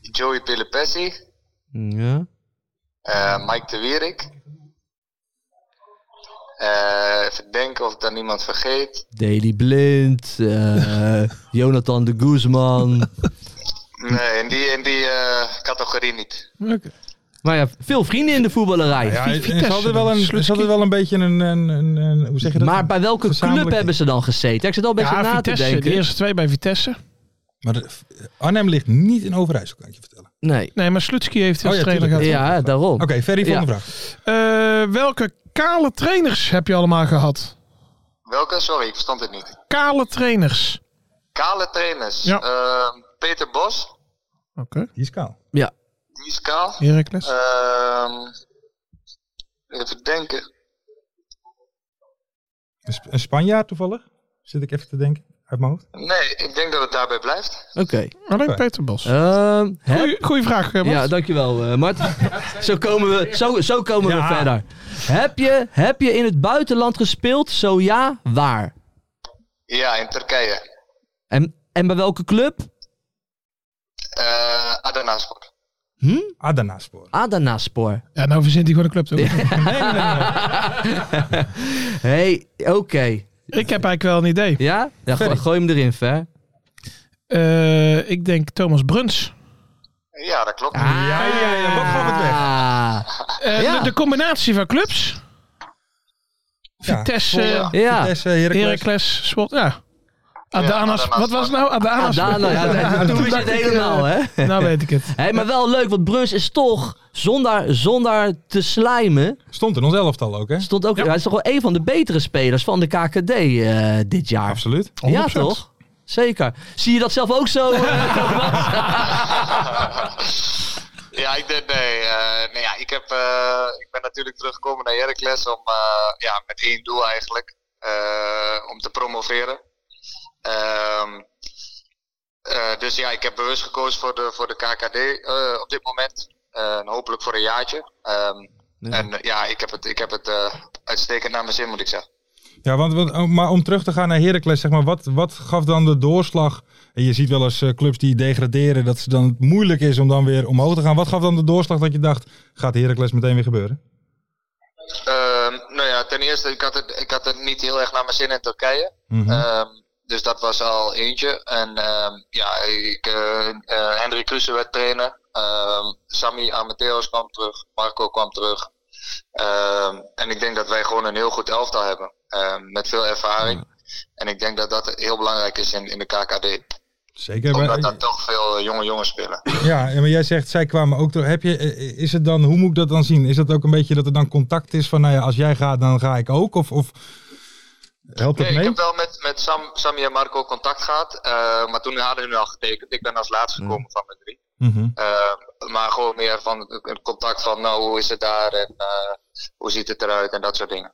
H: Joey Pilipessi,
C: Ja.
H: eh, Mike de Wierik. Eh, even denken of ik daar niemand vergeet.
C: Daily Blind, eh, Jonathan de Guzman.
H: Nee, in die, in die eh, categorie niet.
D: Oké.
C: Maar ja, veel vrienden in de voetballerij.
E: Ja, en
D: Vitesse
E: ze hadden wel een, ze hadden wel een beetje een, een, een, een- Hoe zeg je dat?
C: maar bij welke club
E: Gezamenlijk-
C: hebben ze dan gezeten? Ik zit al een beetje
D: Ja,
C: na te
D: Vitesse.
C: denken.
D: De eerste twee bij Vitesse.
E: Maar de- Arnhem ligt niet in Overijssel, kan ik je vertellen.
C: Nee.
D: Nee, maar Slutski heeft heel
E: Oh ja,
D: trainer
E: tuurlijk.
D: gehad.
C: Ja, daarom.
E: Oké, Ferry, volgende vraag.
D: Eh, welke kale trainers heb je allemaal gehad?
H: Welke? Sorry, ik verstond het niet.
D: Kale trainers.
H: Kale trainers.
D: Ja.
H: Ehm, Peter Bos,
D: Oké.
E: Die is kaal.
C: Ja.
H: die is kaal.
D: Heracles.
H: Ehm, even denken.
E: Een, Sp- een Spanjaard toevallig? Zit ik even te denken. Uit mijn hoofd.
H: Nee, ik denk dat het daarbij blijft.
C: Oké.
D: Alleen
E: Oké.
D: Peter Bos.
C: Ehm, Eh, hè?
D: Goeie, goeie vraag, eh, Bas.
C: Ja, dankjewel, eh, Mart. zo komen we, zo, zo komen we
E: Ja.
C: verder. Heb je, heb je in het buitenland gespeeld? Zo ja, waar?
H: Ja, in Turkije.
C: En, en bij welke club?
H: Eh Adanaspor.
E: Adana-spoor.
C: Ah. Adanaspor.
D: Ja, nou verzint hij gewoon een club. toch?
C: hey, oké.
D: (laughs) Ik heb eigenlijk wel een idee.
C: Ja? ja go-
E: Verder.
C: gooi hem erin, Ver.
D: Eh, ik denk Thomas Bruns.
H: Ja, dat klopt.
E: Ja, ja, ja. Wat gaan we het weg?
C: weg.
D: Eh,
C: Ja.
D: de, de combinatie van clubs.
E: Ja.
D: Vitesse,
H: Ja.
C: Ja.
E: Vitesse, eh, Heracles.
D: Heracles, Swat. Ja. Adanas.
H: Adanas.
D: Wat was het nou? Adanas.
C: Adana, ja,
D: (laughs)
C: toen is het
D: dacht ik,
C: helemaal, hè?
D: Nou weet ik het.
C: Hey, maar wel leuk, want Bruns is toch, zonder, zonder te slijmen,
E: Stond in ons elftal ook, hè?
C: stond ook, hij is toch wel een van de betere spelers van de KKD eh, dit jaar.
E: Absoluut.
C: Ja, toch? Zeker. Zie je dat zelf ook zo? (laughs) eh?
H: (laughs) Ja, ik denk nee. eh, nee ja, ik, heb, eh, ik ben natuurlijk teruggekomen naar Heracles om eh, ja, met één doel eigenlijk. Eh, eh, om te promoveren. Ehm, eh, dus ja, ik heb bewust gekozen voor de, voor de KKD eh, op dit moment. Eh, en hopelijk voor een jaartje. Ehm, En eh, ja, ik heb het, ik heb het eh, uitstekend naar mijn zin, moet ik zeggen.
E: Ja, want, want- maar om terug te gaan naar Heracles, zeg maar, wat, wat gaf dan de doorslag? En je ziet wel eens eh, clubs die degraderen, dat het dan moeilijk is om dan weer omhoog te gaan. Wat gaf dan de doorslag dat je dacht, gaat Heracles meteen weer gebeuren?
H: Ehm, nou ja, ten eerste, ik had, het, ik had het niet heel erg naar mijn zin in Turkije.
E: Mhm.
H: Ehm, dus dat was al eentje. En ehm, ja, ik, eh eh, Henry Kruse werd trainer. Ehm, Sammy Amateos kwam terug. Marco kwam terug. Ehm, en ik denk dat wij gewoon een heel goed elftal hebben. Ehm, met veel ervaring. En ik denk dat dat heel belangrijk is in, in de KKD.
E: Zeker.
H: Omdat
E: Maar,
H: daar toch veel eh, jonge jongens spelen.
E: ja, en maar jij zegt, zij kwamen ook terug. Heb je, eh, is het dan, hoe moet ik dat dan zien? Is dat ook een beetje dat er dan contact is van, nou ja, als jij gaat, dan ga ik ook? Of, of helpt dat
H: Nee, ik
E: mee?
H: heb wel met, met Sam, Sammy en Marco contact gehad. eh, maar toen hadden hun al getekend. Ik ben als laatste gekomen van mijn drie.
E: Mhm.
H: Eh, maar gewoon meer van het- het contact van, nou, hoe is het daar en eh, hoe ziet het eruit en dat soort dingen.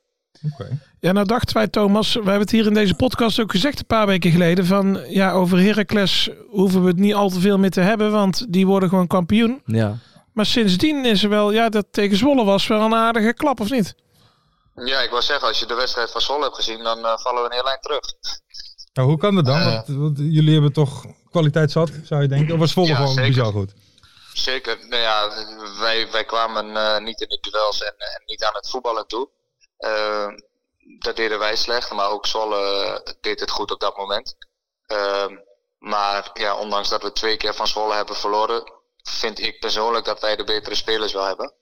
E: Oké.
D: Ja, nou dachten wij, Thomas, we hebben het hier in deze podcast ook gezegd een paar weken geleden. Van ja, over Heracles hoeven we het niet al te veel meer te hebben, want die worden gewoon kampioen.
C: Ja.
D: Maar sindsdien is er wel, ja, dat tegen Zwolle was wel een aardige klap, of niet?
H: Ja, ik wil zeggen, als je de wedstrijd van Zwolle hebt gezien, dan eh, vallen we een heel eind terug.
E: Nou, hoe kan dat
H: Eh.
E: dan? Want, want jullie hebben toch kwaliteit zat, zou je denken? Of was Zwolle
H: Ja,
E: gewoon
H: zeker.
E: bizar goed?
H: Zeker, nou ja, wij, wij kwamen eh, niet in de duels en, en niet aan het voetballen toe. Eh, dat deden wij slecht, maar ook Zwolle eh, deed het goed op dat moment. Ehm, maar ja, ondanks dat we twee keer van Zwolle hebben verloren, vind ik persoonlijk dat wij de betere spelers wel hebben.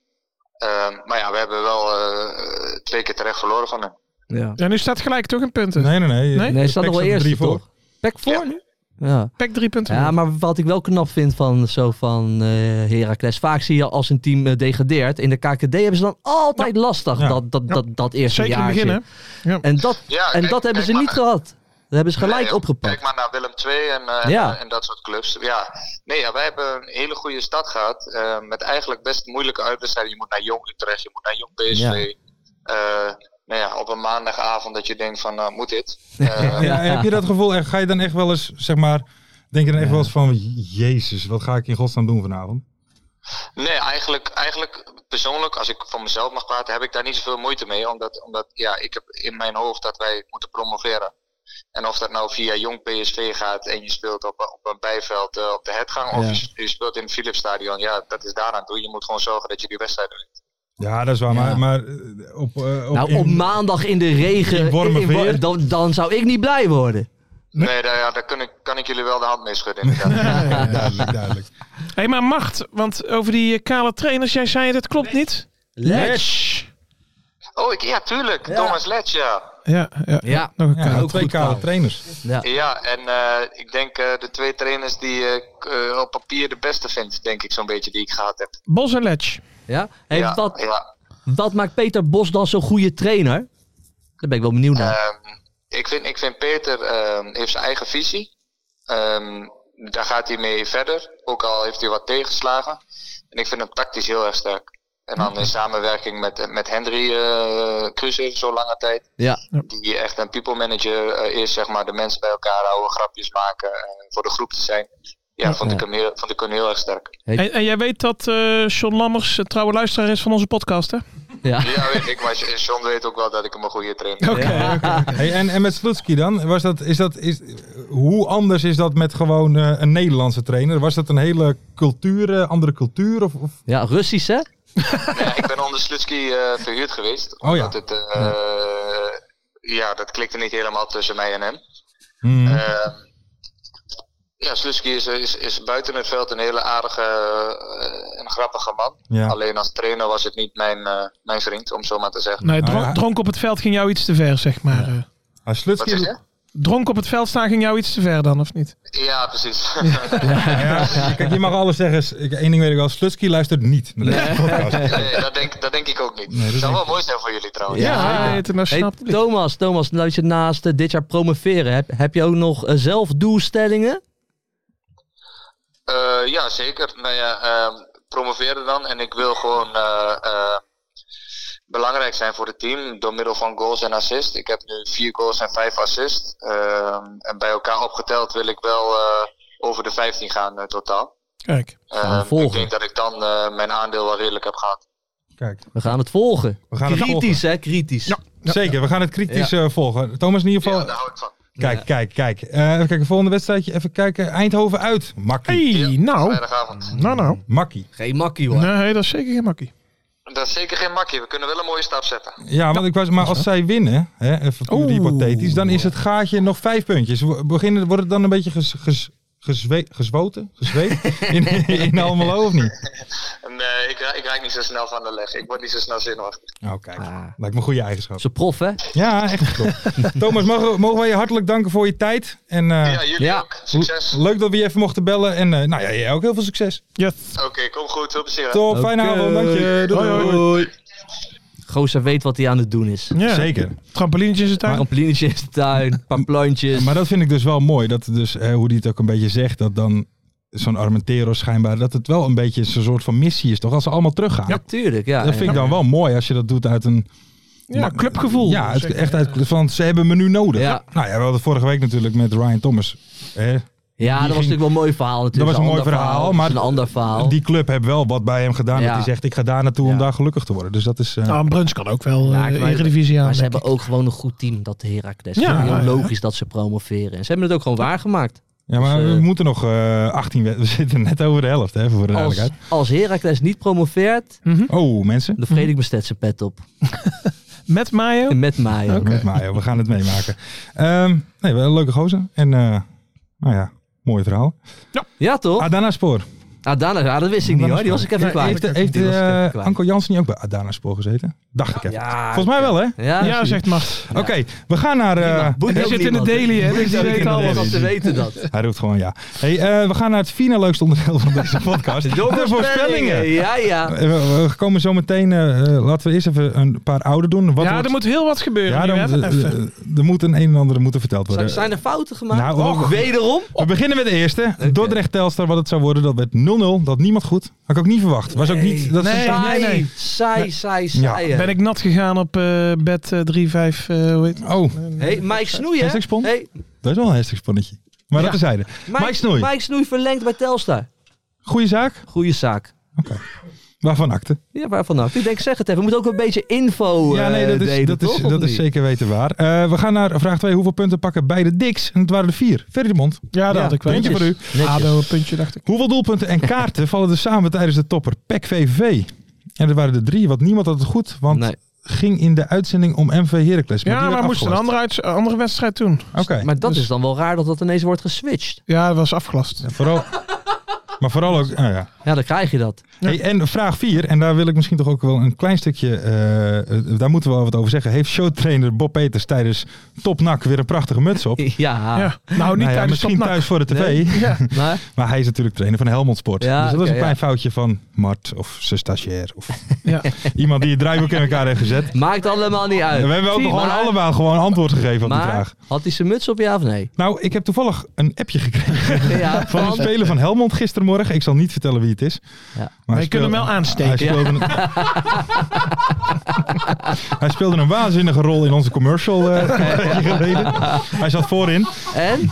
H: Ehm, maar ja, we hebben wel eh, twee keer terecht verloren van hen.
C: ja.
D: Ja, nu staat gelijk toch in punten.
E: Nee, nee, nee.
D: Nee?
C: Nee, ze staat nog wel
E: Pek staat er
C: eerst,
E: drie
C: toch? Pek voor nu? Ja.
D: Pek drie punten.
C: Ja, maar wat ik wel knap vind van, zo van eh Heracles. Vaak zie je als een team eh, degradeert. In de KKD hebben ze dan altijd lastig
E: Ja.
C: dat, dat,
D: Ja.
C: dat, dat eerste
D: Zeker in het
C: jaartje.
D: begin, hè?
C: En dat,
H: Ja,
C: en
H: kijk-
C: dat hebben
H: kijk
C: ze
H: maar
C: niet
H: naar-
C: gehad. Dat hebben ze dus gelijk
H: Nee,
C: opgepakt.
H: Kijk maar naar Willem II en, eh,
C: Ja.
H: en dat soort clubs. Ja. Nee, ja, wij hebben een hele goede stad gehad. eh, met eigenlijk best moeilijke uitwedstrijden. Je moet naar Jong Utrecht, je moet naar Jong PSV.
C: Ja.
H: Eh, nou ja, op een maandagavond dat je denkt van, nou, moet dit? Eh,
E: Ja, heb je dat gevoel? echt- Ga je dan echt wel eens, zeg maar, denk je dan echt wel eens van, jezus, wat ga ik in godsnaam doen vanavond?
H: Nee, eigenlijk, eigenlijk persoonlijk, als ik van mezelf mag praten, heb ik daar niet zoveel moeite mee. Omdat, omdat ja, ik heb in mijn hoofd dat wij moeten promoveren. En of dat nou via jong PSV gaat en je speelt op, een- op een bijveld eh, op de hetgang. Of
E: Ja.
H: je, s- je speelt in het Philipsstadion. Ja, dat is daaraan toe. Je moet gewoon zorgen dat je die wedstrijd wint.
E: Ja, dat is waar,
C: Ja.
E: maar, maar eh, op, eh, op,
C: nou,
E: in-
C: op maandag in de regen,
E: in warme
C: wa-
E: weer.
C: dan, dan zou ik niet blij worden.
H: Nee, daar, ja, daar kan ik, kan ik jullie wel de hand mee schudden. inderdaad.
E: Ja, ja, duidelijk, duidelijk.
D: Hé, maar macht, want over die eh, kale trainers, jij zei dat klopt niet.
C: Let's.
H: oh, ik, ja, tuurlijk. Thomas Letch, ja.
D: Ja, ja.
C: Ja,
D: Nog een
E: Ja,
D: kale.
C: ook
E: twee
C: goed
E: kale
C: trouwens.
E: trainers.
C: ja.
H: Ja, en eh, ik denk eh, de twee trainers die eh, k- eh, op papier de beste vindt, denk ik zo'n beetje die ik gehad heb.
D: Bos en Letch.
C: ja. Hey,
H: ja,
C: Wat,
H: ja.
C: wat maakt Peter Bos dan zo'n goede trainer? Daar ben ik wel benieuwd naar.
H: Ehm, ik, vind, ik vind Peter ehm, heeft zijn eigen visie. Ehm, daar gaat hij mee verder. Ook al heeft hij wat tegenslagen. En ik vind hem tactisch heel erg sterk. En dan in samenwerking met, met Henry eh Kruse zo lange tijd.
C: ja.
H: Die echt een people manager eh, is, zeg maar. De mensen bij elkaar houden, grapjes maken. en voor de groep te zijn. Ja, vond ik hem heel, vond ik hem heel erg sterk.
D: En, en jij weet dat eh John Lammers een trouwe luisteraar is van onze podcast, hè?
C: ja.
H: Ja, weet (laughs) ik. Maar John weet ook wel dat ik hem een goede trainer
E: Eh,
D: Oké.
E: Hey, en, en met Slutski dan, was dat, is dat, is, hoe anders is dat met gewoon eh, een Nederlandse trainer? Was dat een hele cultuur, eh, andere cultuur? Of, of
C: ja, Russisch hè?
H: Ja, ik ben onder Slutski eh, verhuurd geweest.
E: Oh ja.
H: Omdat het, eh, ja, dat klikte niet helemaal tussen mij en hem.
E: Hmm.
H: Eh, ja, Slutski is, is, is buiten het veld een hele aardige eh, en grappige man.
E: Ja.
H: Alleen als trainer was het niet mijn, eh, mijn vriend, om zo maar te zeggen.
D: Nee,
E: Ah, ja.
D: dronk, dronk op het veld ging jou iets te ver, zeg maar. eh.
E: Ah,
H: Wat
E: Slutski,
H: zeg je?
D: Dronk op het veld staan ging jou iets te ver dan, of niet?
E: (laughs)
H: Ja, precies.
E: Ja, ja, kijk, je mag alles zeggen. S- ik- Eén ding weet ik wel, Slutski luistert niet naar deze podcast.
H: nee, dat, denk, dat denk ik ook niet.
E: dat
H: zou wel
E: denk
H: mooi zijn voor jullie trouwens.
C: Ja,
D: Ja,
C: zeker.
D: het, nou
C: Hey,
D: snapt het.
C: Thomas, Thomas, nou je naast eh, dit jaar promoveren, heb, heb je ook nog eh, zelf doelstellingen?
H: Eh, ja, zeker. Nou ja, ehm, promoveren dan. En ik wil gewoon eh, eh, belangrijk zijn voor het team door middel van goals en assists. Ik heb nu vier goals en vijf assists. Ehm, en bij elkaar opgeteld wil ik wel eh, over de 15 gaan eh, totaal.
D: Kijk.
C: Gaan we
H: Ehm, ik
C: volgen.
H: denk dat ik dan eh, mijn aandeel wel redelijk heb gehad.
E: Kijk,
C: We gaan het volgen.
E: we gaan het volgen.
C: Kritisch, hè? Kritisch.
D: Ja.
E: Zeker, we gaan het kritisch eh, volgen. Thomas, in ieder
H: Ja, nou,
E: geval.
H: daar hou ik van.
E: Kijk,
C: Ja.
E: kijk, kijk. Eh even kijken, volgende wedstrijdje. Even kijken. Eindhoven uit. Makkie.
D: Hey, nou.
H: Vrijdagavond.
D: Nou, nou.
E: Makkie.
C: Geen makkie, hoor.
D: Nee, dat is zeker geen makkie.
H: Dat is zeker geen makkie. We kunnen wel een mooie stap zetten.
E: Ja, want ik was, maar als zij winnen, hè, even puur
D: Oeh.
E: hypothetisch, dan is het gaatje nog vijf puntjes. We Beginnen, wordt het dan een beetje ges, ges, gezwe- gezwoten? Gezweet? in, in Almelo of niet?
H: Nee, eh, ik, ra- ik raak niet zo snel van de leg. Ik word niet zo snel zenuwachtig.
E: Nou, kijk.
C: Ah.
E: Lijkt me een goede eigenschap.
C: Ze prof, hè?
E: Ja, echt top. Thomas, mogen, mogen wij je hartelijk danken voor je tijd. En eh,
H: Ja, jullie
C: ja.
H: ook. Succes.
E: leuk dat we je even mochten bellen. En eh, nou ja, jij ook heel veel succes.
D: Yes.
H: Oké, kom goed. Veel plezier. hè.
E: Top, fijne avond. Dank je. Doei.
C: Gozer weet wat hij aan het doen is.
D: Ja.
E: Zeker.
D: Trampolinetjes in de tuin.
C: Trampolinetje in de tuin, een paar plantjes.
E: Maar dat vind ik dus wel mooi. Dat dus, eh, hoe die het ook een beetje zegt, dat dan zo'n Armentero schijnbaar, dat het wel een beetje zo'n soort van missie is, toch? Als ze allemaal teruggaan.
C: Natuurlijk, ja.
E: dat vind ik dan wel mooi als je dat doet uit een...
D: Ja, clubgevoel.
E: Ja, het,
D: Zeker.
E: echt uit, van ze hebben me nu nodig.
C: Ja.
E: Nou ja, we hadden vorige week natuurlijk met Ryan Thomas. Hè?
C: Ja, dat was
E: ging-
C: natuurlijk wel een mooi verhaal natuurlijk.
E: Dat was een mooi
C: ander
E: verhaal,
C: dat
E: maar-
C: is een ander verhaal.
E: Die club heeft wel wat bij hem gedaan.
C: Ja.
E: Dat hij zegt, ik ga daar naartoe om
C: Ja.
E: daar gelukkig te worden. Dus dat is... eh,
D: Nou, een brunch kan ook wel
C: Ja,
D: ja,
C: ik weet het.
D: Eredivisie aan.
E: Nou,
C: maar ze
D: denk
C: hebben ook gewoon een goed team, dat Heracles.
D: Ja,
C: Ja,
D: ja, ja.
C: heel logisch dat ze promoveren. En ze hebben het ook gewoon waargemaakt.
E: ja, maar
C: dus,
E: we
C: eh,
E: moeten nog eh 18... wed- We (laughs) zitten net over de helft, hè, voor de
C: Als,
E: duidelijkheid.
C: als Heracles niet promoveert,
E: Oh, mensen.
C: dan vreet ik mijn Stetson pet op.
D: ik. Met Mayo.
C: En met mij. ook.
E: Met Mayo, we gaan het meemaken. Ehm, nee, wel een leuke gozer. En eh, nou ja, mooi verhaal.
C: Ja, toch?
E: Adana Spoor.
C: Adana, ja, dat wist ik Oh. niet hoor. Die was ik even
E: Ja,
C: kwijt.
E: Heeft, heeft
C: Die was ik even
E: eh,
C: kwijt.
E: Anko Jansen niet ook bij Adana Spoor gezeten? Dacht ik even.
C: Ja,
E: Volgens mij wel, hè?
C: Ja,
D: Ja, zegt Mart.
E: Oké, we gaan naar... eh,
C: Boeit
D: Hij
C: ook
D: zit in de
C: niemand.
D: daily, hè? Dus die
E: ook
D: weet
E: in de
D: alles.
E: daily.
C: Ze weten
E: (laughs)
C: dat.
E: hij roept gewoon ja. Hey, eh, we gaan naar het vierde leukste onderdeel van
C: (laughs)
E: deze podcast. de voorspellingen.
C: Ja, ja.
E: Eh, We, we komen zo meteen... eh, eh, laten we eerst even een paar oude doen. Wat
D: Ja,
E: wordt-
D: er moet heel wat gebeuren.
E: ja,
D: nu, hè?
E: dan-
D: Even.
E: eh, er moet een een en ander moeten verteld worden.
C: Z- Zijn er fouten gemaakt?
E: Nou,
C: Och,
E: ook-
C: wederom?
E: We beginnen met de eerste. Dordrecht-Telstar, wat het zou worden, dat werd 0-0. Dat niemand goed. Had ik ook niet verwacht. Was ook niet... Dat
D: Nee.
C: saai,
D: nee.
C: saai, saai, saai. hè.
D: Ben ik nat gegaan op eh bed eh, 3-5, eh, hoe heet het?
E: Oh,
C: Hey, Mike Snoei, hè?
E: Hashtag spon.
C: Hey,
E: dat is wel een heftig spannetje. Maar dat terzijde. Mike, Snoei,
C: Mike Snoei verlengt bij Telstar.
E: goede zaak.
C: Goeie zaak.
E: Waarvan akte?
C: Ja, waarvan nou? Ik denk, zeg het even. We moeten ook een beetje info
E: ja, nee,
C: eh,
E: dat is,
C: delen,
E: dat
C: toch?
E: is,
C: Of
E: dat is
C: niet?
E: zeker weten waar. Eh, we gaan naar vraag 2. Hoeveel punten pakken beide Dicks? En het waren er vier. Ferry de Mond.
D: Ja, dat
E: Ja,
D: had ik wel.
E: puntje voor u.
C: Netjes.
D: ADO, een puntje dacht ik.
E: Hoeveel doelpunten en kaarten vallen er samen tijdens de topper? E PEC VVV. En er waren er drie, want niemand had het goed. Want
C: Nee.
E: ging in de uitzending om MV Heracles.
D: Ja,
E: die
D: maar
E: werd
D: we moesten een
E: afgelast.
D: andere, uits- een andere wedstrijd doen.
E: Oké.
C: Maar dat
D: Dus-
C: is dan wel raar dat dat ineens wordt geswitcht.
D: Ja, dat was afgelast.
E: Vooral... Maar vooral ook, nou ja,
C: Ja, dan krijg je dat.
E: Hey, en vraag 4, en daar wil ik misschien toch ook wel een klein stukje, eh, eh, daar moeten we wel wat over zeggen. Heeft showtrainer Bob Peters tijdens Topnak weer een prachtige muts op?
C: Ja,
D: Ja.
C: oh,
D: Nou, niet
E: Nou (laughs) ja,
D: tijdens
E: misschien
D: Topnak.
E: thuis voor de tv,
C: maar
E: maar hij is natuurlijk trainer van Helmond Sport.
C: Ja,
E: dus dat was
C: oké,
E: een klein
C: ja.
E: foutje van Mart of zijn stagiair
C: (laughs)
E: of
D: Ja.
E: iemand die het draaiboek in elkaar heeft gezet.
C: maakt allemaal niet
E: En
C: uit.
E: we hebben ook
C: Maar-
E: gewoon allemaal gewoon antwoord gegeven op die
C: Maar
E: vraag.
C: had hij zijn muts op, ja of
E: (laughs)
C: nee?
E: Nou, ik heb toevallig een appje gekregen
C: Ja,
E: van een speler van Helmond gistermorgen. Ik zal niet vertellen wie het is.
C: Ja.
E: Maar
D: je kunt hem wel aansteken.
E: Hij speelde, een, (laughs) hij speelde een waanzinnige rol in onze commercial eh, (laughs) een tijdje geleden. Hij zat voorin.
C: En?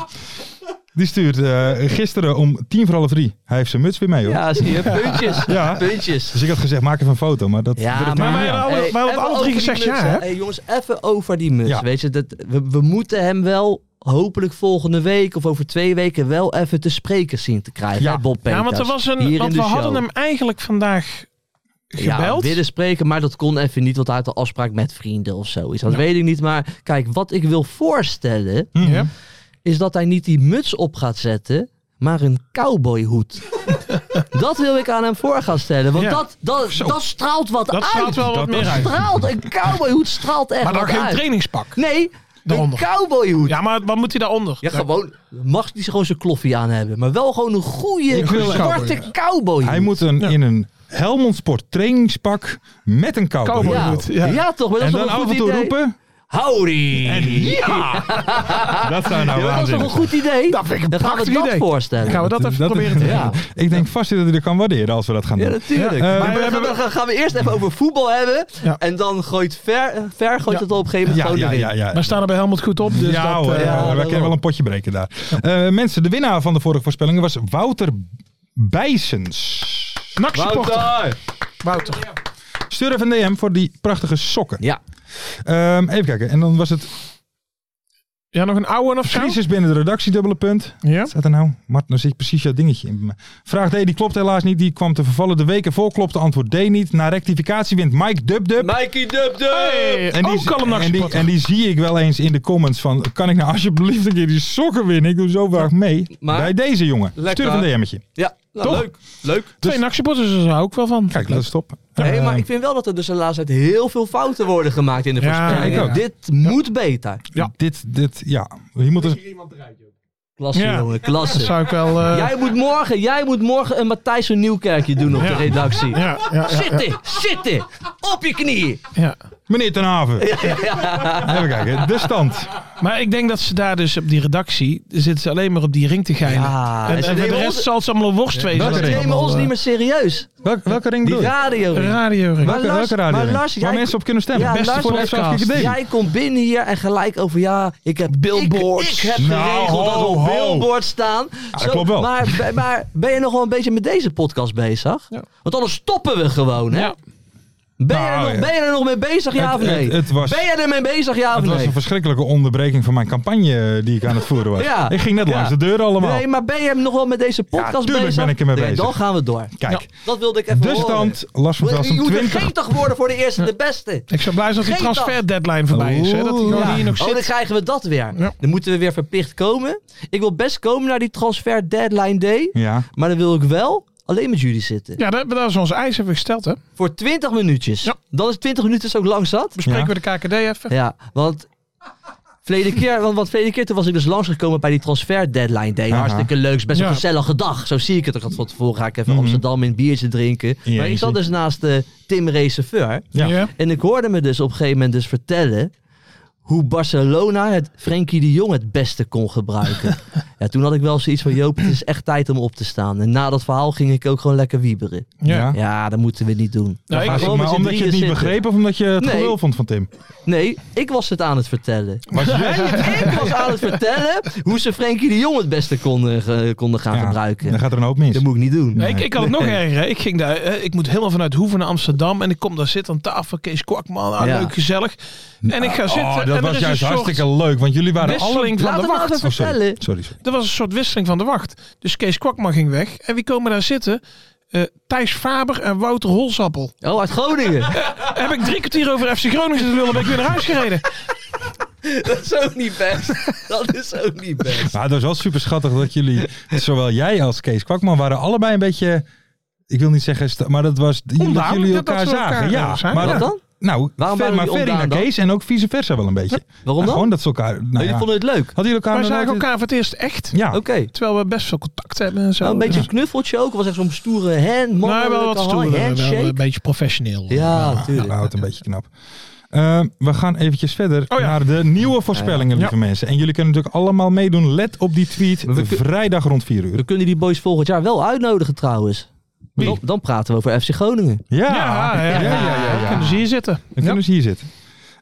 E: Die stuurt eh, gisteren om tien voor half drie. Hij heeft zijn muts weer mee hoor. Ja.
C: Ja, zie je. Puntjes. Puntjes.
E: Dus ik had gezegd, maak even een foto. Maar dat
C: Ja,
D: Maar wij
C: ja.
D: hadden alle-
C: Hey,
D: wij hadden
C: even
D: alle drie
C: over die
D: gezegd ja,
C: muts,
D: hè?
C: Hey, jongens, even over die muts.
E: Ja.
C: Weet je, dat, we, we moeten hem wel hopelijk volgende week of over twee weken wel even te spreken zien te krijgen.
E: Ja.
C: hè, Bob Peters,
D: Ja, want, er was een,
C: Hier
D: want
C: in
D: we
C: de show.
D: hadden hem eigenlijk vandaag
C: Ja,
D: gebeld.
C: willen spreken, maar dat kon even niet, want hij had een afspraak met vrienden of zoiets. Dat weet ik niet, maar kijk, wat ik wil voorstellen,
E: Mhm.
D: Ja.
C: is dat hij niet die muts op gaat zetten, maar een
D: (laughs)
C: cowboyhoed. dat wil ik aan hem voor gaan stellen, want
D: Ja.
C: dat, dat, dat straalt wat
D: Dat
C: uit.
D: straalt wel wat meer uit.
C: straalt, een cowboyhoed straalt echt
D: Maar dan
C: wat
D: geen
C: uit.
D: trainingspak.
C: Nee, een
D: Daaronder.
C: cowboyhoed. Ja.
D: Ja, maar wat moet hij daaronder?
C: gewoon, mag die gewoon zijn kloffie aan hebben, maar wel gewoon een goede,
E: wil een
C: zwarte cowboyhoed.
E: Hij moet een, in een Helmond Sport trainingspak met een cowboy.
D: Cowboy.
C: ja.
D: Ja.
C: Ja. toch, maar dat
E: En
C: is wel
E: dan
C: een
E: af
C: goed
E: en toe
C: idee.
E: roepen,
C: Howdy!
D: Ja,
E: Dat zou nou
C: dat was toch een
E: waanzinnig
C: goed idee?
D: dat vind ik een
C: Dan gaan we
D: prachtig
C: dat
D: idee.
C: voorstellen.
D: Gaan we dat even proberen te
C: Ja.
E: (laughs) Ik denk vast dat hij er kan waarderen als we dat gaan
C: Ja,
E: doen.
C: natuurlijk.
E: Ja, eh,
C: maar we gaan, we gaan we eerst even over voetbal hebben.
D: Ja.
C: En dan gooit Ver, eh, ver gooit
D: Ja.
C: het op een gegeven moment
E: ja,
C: gewoon
E: ja,
C: erin.
E: ja, ja.
D: Maar staan er bij Helmut goed op. Dus
E: ja,
D: dat,
E: hoor,
D: eh,
C: ja,
E: wij
C: dat
E: kunnen
C: wel.
E: wel een potje breken daar. Eh, mensen, de winnaar van de vorige voorspellingen was Wouter Bijsens.
D: NAC supporter.
C: Wouter!
D: Wouter.
E: Stuur even een DM voor die prachtige sokken.
C: Ja.
E: Ehm, even kijken. En dan was het
D: Ja, nog een oude of zo?
E: crisis binnen de redactie, dubbele punt.
D: Ja.
E: Wat staat er nou? Martin, daar zit precies jouw dingetje in. Vraag D, die klopt helaas niet. Die kwam te vervallen. De weken voor klopte antwoord D niet. Na rectificatie wint Mike Dub Dub.
C: Mikey Dub Dub!
D: Hey,
E: En
D: Eh, ook al een NAC
E: en, die,
D: supporter.
E: en die zie ik wel eens in de comments van... Kan ik nou alsjeblieft een keer die sokken winnen? Ik doe zo graag mee.
C: Maar-
E: bij deze jongen.
C: Lekker.
E: Stuur even een DM'tje.
C: Ja, nou,
D: Toch?
C: leuk. Leuk.
D: Twee NAC supporters, daar hou ik wel van.
E: dus- Kijk, dat is top.
C: Nee,
D: Ehm.
E: Eh,
C: maar ik vind wel dat er dus de laatste tijd heel veel fouten worden gemaakt in de
D: Ja,
C: voorspelling.
E: ik ook.
C: Dit moet beter.
D: Ja.
E: Dit, dit, ja. Hier moet er-
C: Klasse,
D: Ja.
C: jongen, klasse.
D: Dat zou ik wel... eh,
C: Jij moet morgen, jij moet morgen een Matthijs van Nieuwkerkje doen op de
D: Ja.
C: redactie.
D: ja, ja, ja,
C: Zitten, zitten, op je knieën.
D: ja.
E: Meneer Ten Haven. Even kijken. De stand.
D: Maar ik denk dat ze daar dus op die redactie zitten ze alleen maar op die ring te geilen.
C: Ja,
D: en
C: en ze
D: en voor de
C: nemen
D: rest
C: ons-
D: zal het allemaal worst wezen.
E: dat
D: wat
C: Ze
E: is
D: die
C: nemen
D: allemaal,
C: ons
D: eh,
C: niet meer serieus.
E: Welk, welke ring
C: Die
E: bedoel je?
C: radio.
D: Radio ring.
C: Maar
E: Welke,
C: Lars-
E: welke radio?
C: maar
E: ring?
C: Lars,
E: Waar
C: jij-
E: mensen op kunnen stemmen.
C: Ja,
E: Beste
C: Lars,
E: voor FC
D: podcast.
E: Afkikken D.
C: Jij komt binnen hier en gelijk over ja, ik heb
D: Billboards.
C: Ik, ik heb
E: Nou,
C: geregeld dat er
E: ho, ho.
C: billboards staan.
E: dat klopt wel.
C: Maar, maar- maar ben je nog wel een beetje met deze podcast bezig?
D: Ja.
C: Want anders stoppen we gewoon, hè?
D: Ja.
C: Ben, je
E: Nou,
C: er nog,
E: ja.
C: ben je er nog mee bezig, ja
E: Het-
C: of nee?
E: het- het was-
C: ben je er mee bezig, ja of
E: Het was
C: nee?
E: een verschrikkelijke onderbreking van mijn campagne eh, die ik aan het voeren was.
C: Ja.
E: Ik ging net
C: Ja.
E: langs de deur allemaal.
C: Nee, maar ben je nog wel met deze podcast
E: tuurlijk
C: bezig?
E: ben ik ermee
C: Nee,
E: bezig.
C: Dan gaan we door.
E: Kijk,
C: Dat wilde ik even
E: de
C: horen.
E: stand Lars van
C: Je
E: Velsen
C: moet
E: 20.
C: 20 worden voor de eerste de
E: (laughs)
C: beste.
D: Ik zou blij zijn als die
C: Vergeet dat.
D: transfer deadline voorbij is. Hè? Dat hij gewoon
C: Ja.
D: Nou, hier nog
C: Oh, dan
D: zit.
C: krijgen we dat weer.
D: Ja.
C: Dan moeten we weer verplicht komen. Ik wil best komen naar die transfer deadline day.
E: Ja,
C: Maar dan wil ik wel alleen met jullie zitten.
D: Ja, dat, dat is onze eis hebben we gesteld. Hè?
C: Voor 20 minuutjes.
D: Ja.
C: Dan is 20 minuten zo lang zat.
D: Bespreken
E: Ja.
D: we de KKD even.
C: Ja, want... Verleden keer, want, want verleden keer toen was ik dus langsgekomen bij die transfer deadline day.
E: Aha.
C: Hartstikke leuk, is best een
D: Ja. Mhm.
C: gezellige dag. Zo zie ik het. Ik had van tevoren ga ik even Amsterdam in een biertje drinken. Maar ik
E: Jeetje.
C: zat dus naast eh, Tim Receveur.
E: Ja.
C: En ik hoorde me dus op een gegeven moment dus vertellen hoe Barcelona het Frenkie de Jong het beste kon gebruiken. ja, toen had ik wel zoiets van, Joop, het is echt tijd om op te staan. En na dat verhaal ging ik ook gewoon lekker wieberen.
E: ja.
D: Ja.
C: Ja, dat moeten we niet doen.
D: Nou, ik-
C: Gewoon
E: Maar,
C: met z'n
E: omdat je het niet
C: drieën
E: begreep of omdat je het
C: Nee.
E: gelul vond van Tim?
C: zitten. Nee, ik was het aan het vertellen.
E: Was je,
C: (laughs) ik was aan het vertellen hoe ze Frenkie de Jong het beste konden, ge- konden gaan
E: Ja,
C: gebruiken.
E: Dan gaat er een hoop mis.
C: Dat moet ik niet doen.
D: Nee, ik, ik had het nog erger. hè. Ik ging daar, eh, ik moet helemaal vanuit Hoeven naar Amsterdam. En ik kom daar zitten aan tafel. Kees Kwakman, ah,
C: Ja.
D: leuk, gezellig. En ik ga zitten.
E: Oh,
D: en
E: dat
D: er
E: was
D: is
E: juist
D: een soort-
E: hartstikke leuk, want jullie waren alle...
D: wisseling van
C: Laat
D: de
C: hem nou
D: wacht.
C: even
E: Oh, sorry.
C: vertellen.
E: sorry, sorry.
D: Er was een soort wisseling van de wacht. Dus Kees Kwakman ging weg. En wie komen daar zitten? Eh, Thijs Faber en Wouter Holsappel.
C: Oh, uit Groningen.
D: Heb ik drie kwartier over FC Groningen zitten lullen, ben ik weer naar huis gereden.
C: dat is ook niet best. Dat is ook niet best.
E: Maar het was wel super schattig dat jullie, (laughs) zowel jij als Kees Kwakman, waren allebei een beetje... Ik wil niet zeggen, sta- maar dat was dat
D: Onduidelijk
E: jullie
D: dat
E: elkaar
D: ze elkaar
E: zagen. ja,
D: zijn.
E: maar
C: Wat
E: dat-
C: dan?
E: Nou,
C: Waarom
E: ver,
C: waren
E: maar
C: jullie
E: Ferry naar
C: ontdaan dan?
E: Kees en ook vice versa wel een beetje.
C: Waarom
E: Ja,
C: dan?
E: Gewoon dat ze elkaar... Nou
C: Jullie
E: ja.
C: vonden het leuk?
E: Hadden jullie elkaar...
D: Wij zagen
E: nooit-
D: elkaar voor het eerst echt.
E: Ja.
C: Oké.
D: Terwijl we best veel contact hebben en zo.
C: Nou, een beetje
D: Dus-
C: een knuffeltje ook. Was echt zo'n stoere hand.
D: nou, wel wat
C: mannelijke
D: stoelen.
C: handshake.
D: Wel eh, een beetje professioneel.
C: Ja,
E: Ja,
C: natuurlijk.
E: dat houdt een beetje knap. Eh, we gaan eventjes verder
D: Oh ja.
E: naar de nieuwe voorspellingen, lieve mensen. En jullie kunnen natuurlijk allemaal meedoen. Let op die tweet
C: Maar we kun-
E: vrijdag rond 4 uur.
C: We kunnen die boys volgend jaar wel uitnodigen trouwens.
E: Wie?
C: Dan, dan praten we over FC Groningen.
E: Ja,
D: Ja, ja, ja.
E: ja, ja.
D: Kunnen ze hier zitten.
E: Dan kunnen ze hier zitten.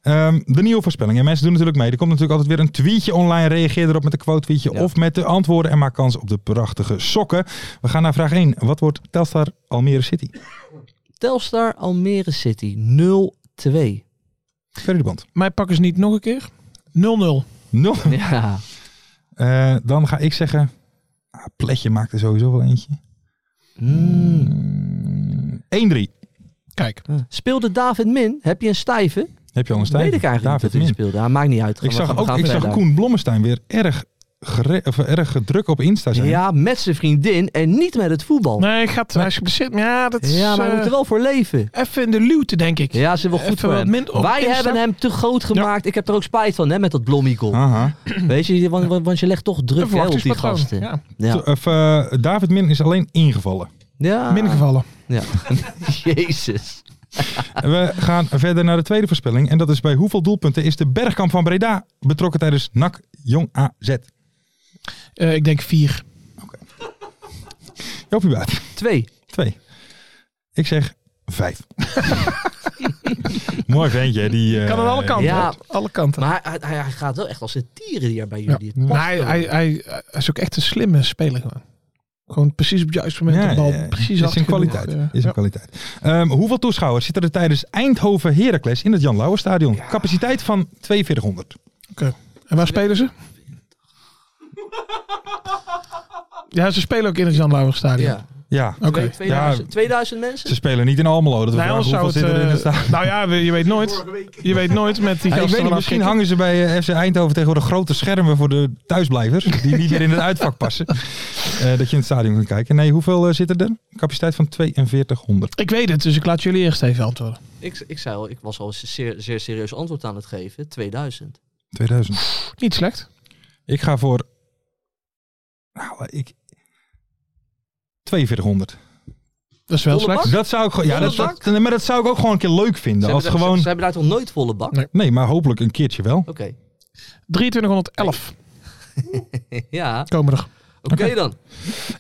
E: Ehm, de nieuwe voorspellingen. Mensen doen natuurlijk mee. Er komt natuurlijk altijd weer een tweetje online. Reageer erop met een quote tweetje
C: Ja.
E: of met de antwoorden. En maak kans op de prachtige sokken. We gaan naar vraag 1. Wat wordt Telstar Almere City?
C: Telstar Almere City 0-2.
E: Ferry de Bond.
D: Mij pakken ze niet nog een keer. 0-0.
E: Nul.
C: Ja.
E: Eh, dan ga ik zeggen... Ah, Pletje maakt er sowieso wel eentje.
C: Mm. Hmm.
E: 1-3.
D: Kijk.
C: Speelde David Min? Heb je een stijve?
E: Heb je al een stijl?
C: Weet ik eigenlijk niet dat hij speelde. Ja, maakt niet uit.
E: Ik
C: We gaan-
E: zag,
C: we
E: ook,
C: gaan
E: ik zag
C: verder.
E: Koen Blommestein weer erg, gere- of erg druk op Insta zijn.
C: Ja, met zijn vriendin en niet met het voetbal.
D: Nee, gaat, hij is geblesseerd. Maar ja, dat is...
C: Oh. ja, maar we
D: eh,
C: moeten wel voor leven.
D: Even in de luwte, denk ik.
C: Ja, ze wil goed
D: Even
C: voor
D: wat
C: hem.
D: minder op
C: Wij
D: Insta.
C: hebben hem te groot gemaakt. Ik heb er ook spijt van, hè, met dat blommie goal.
E: Aha.
C: Weet je, want, want- want je legt toch
D: Een
C: druk hè, op die
D: verwachtingspatroon.
C: gasten.
D: Ja.
C: Ja. (laughs)
E: Of, eh, David Min is alleen ingevallen.
C: ja.
D: Mingevallen.
C: Ja. (laughs) Jezus.
E: We gaan verder naar de tweede voorspelling. En dat is bij hoeveel doelpunten is de Bergkamp van Breda betrokken tijdens NAC Jong AZ?
D: Eh, ik denk vier.
E: Jopie Buit.
C: Twee.
E: Twee. Ik zeg vijf. (laughs) Mooi ventje, hè, die... eh,
D: Kan aan alle kanten.
C: ja.
D: hè? Alle kanten.
C: Maar hij, hij, hij gaat wel echt als een tieren hier bij
D: Ja.
C: jullie. Het
D: Maar
C: past
D: hij,
C: wel.
D: hij, hij, hij is ook echt een slimme speler gewoon. Gewoon precies op het juiste moment
E: Ja,
D: de bal.
E: ja, ja.
D: Precies
E: is
D: hard
E: een
D: genoeg,
E: kwaliteit.
D: eh,
E: Is een
D: ja.
E: kwaliteit. Ehm, hoeveel toeschouwers zitten er tijdens Eindhoven Heracles in het Jan Lauwerstadion? Capaciteit van 4200.
D: En waar spelen ze? Ja, ze spelen ook in het Jan Lauwerstadion.
C: Ja.
E: Ja,
D: Oké.
C: Twee- 2000, 2000 mensen?
E: ze spelen niet in Almelo. Dat we
D: Nee,
E: vragen
D: anders Nou, zou
E: hoeveel
D: het...
E: zitten er in
D: eh,
E: het stadion.
D: (laughs) nou ja, we- je weet nooit. Je weet nooit met die
E: Ja,
D: gasten
E: ik weet niet,
D: vanaf
E: misschien
D: Kikken.
E: hangen ze bij eh, FC Eindhoven tegenwoordig grote schermen voor de
D: (laughs)
E: thuisblijvers. Die niet meer in het uitvak passen. Eh, dat je in het stadion kan kijken. Nee, hoeveel eh, zitten er? Capaciteit van 4200.
D: Ik weet het, dus ik laat jullie eerst even antwoorden.
C: Ik, ik, zei al, ik was al een zeer, zeer serieus antwoord aan het geven. 2000.
E: 2000.
D: Niet slecht.
E: Ik ga voor... Nou, eh, ik... 4200.
D: Dat is wel
C: Dolle
D: slecht.
E: Dat zou ik gewoon... Ja, dat,
C: Volle bak?
E: dat- maar dat zou ik ook gewoon een keer leuk
C: Ze
E: vinden.
C: hebben,
E: Als
C: daar-
E: gewoon...
C: ze, ze hebben daar toch nooit volle bak?
D: Nee.
E: Nee, maar hopelijk een keertje wel.
C: Oké. (laughs)
D: 2311
C: ja,
D: komen er.
C: oké dan.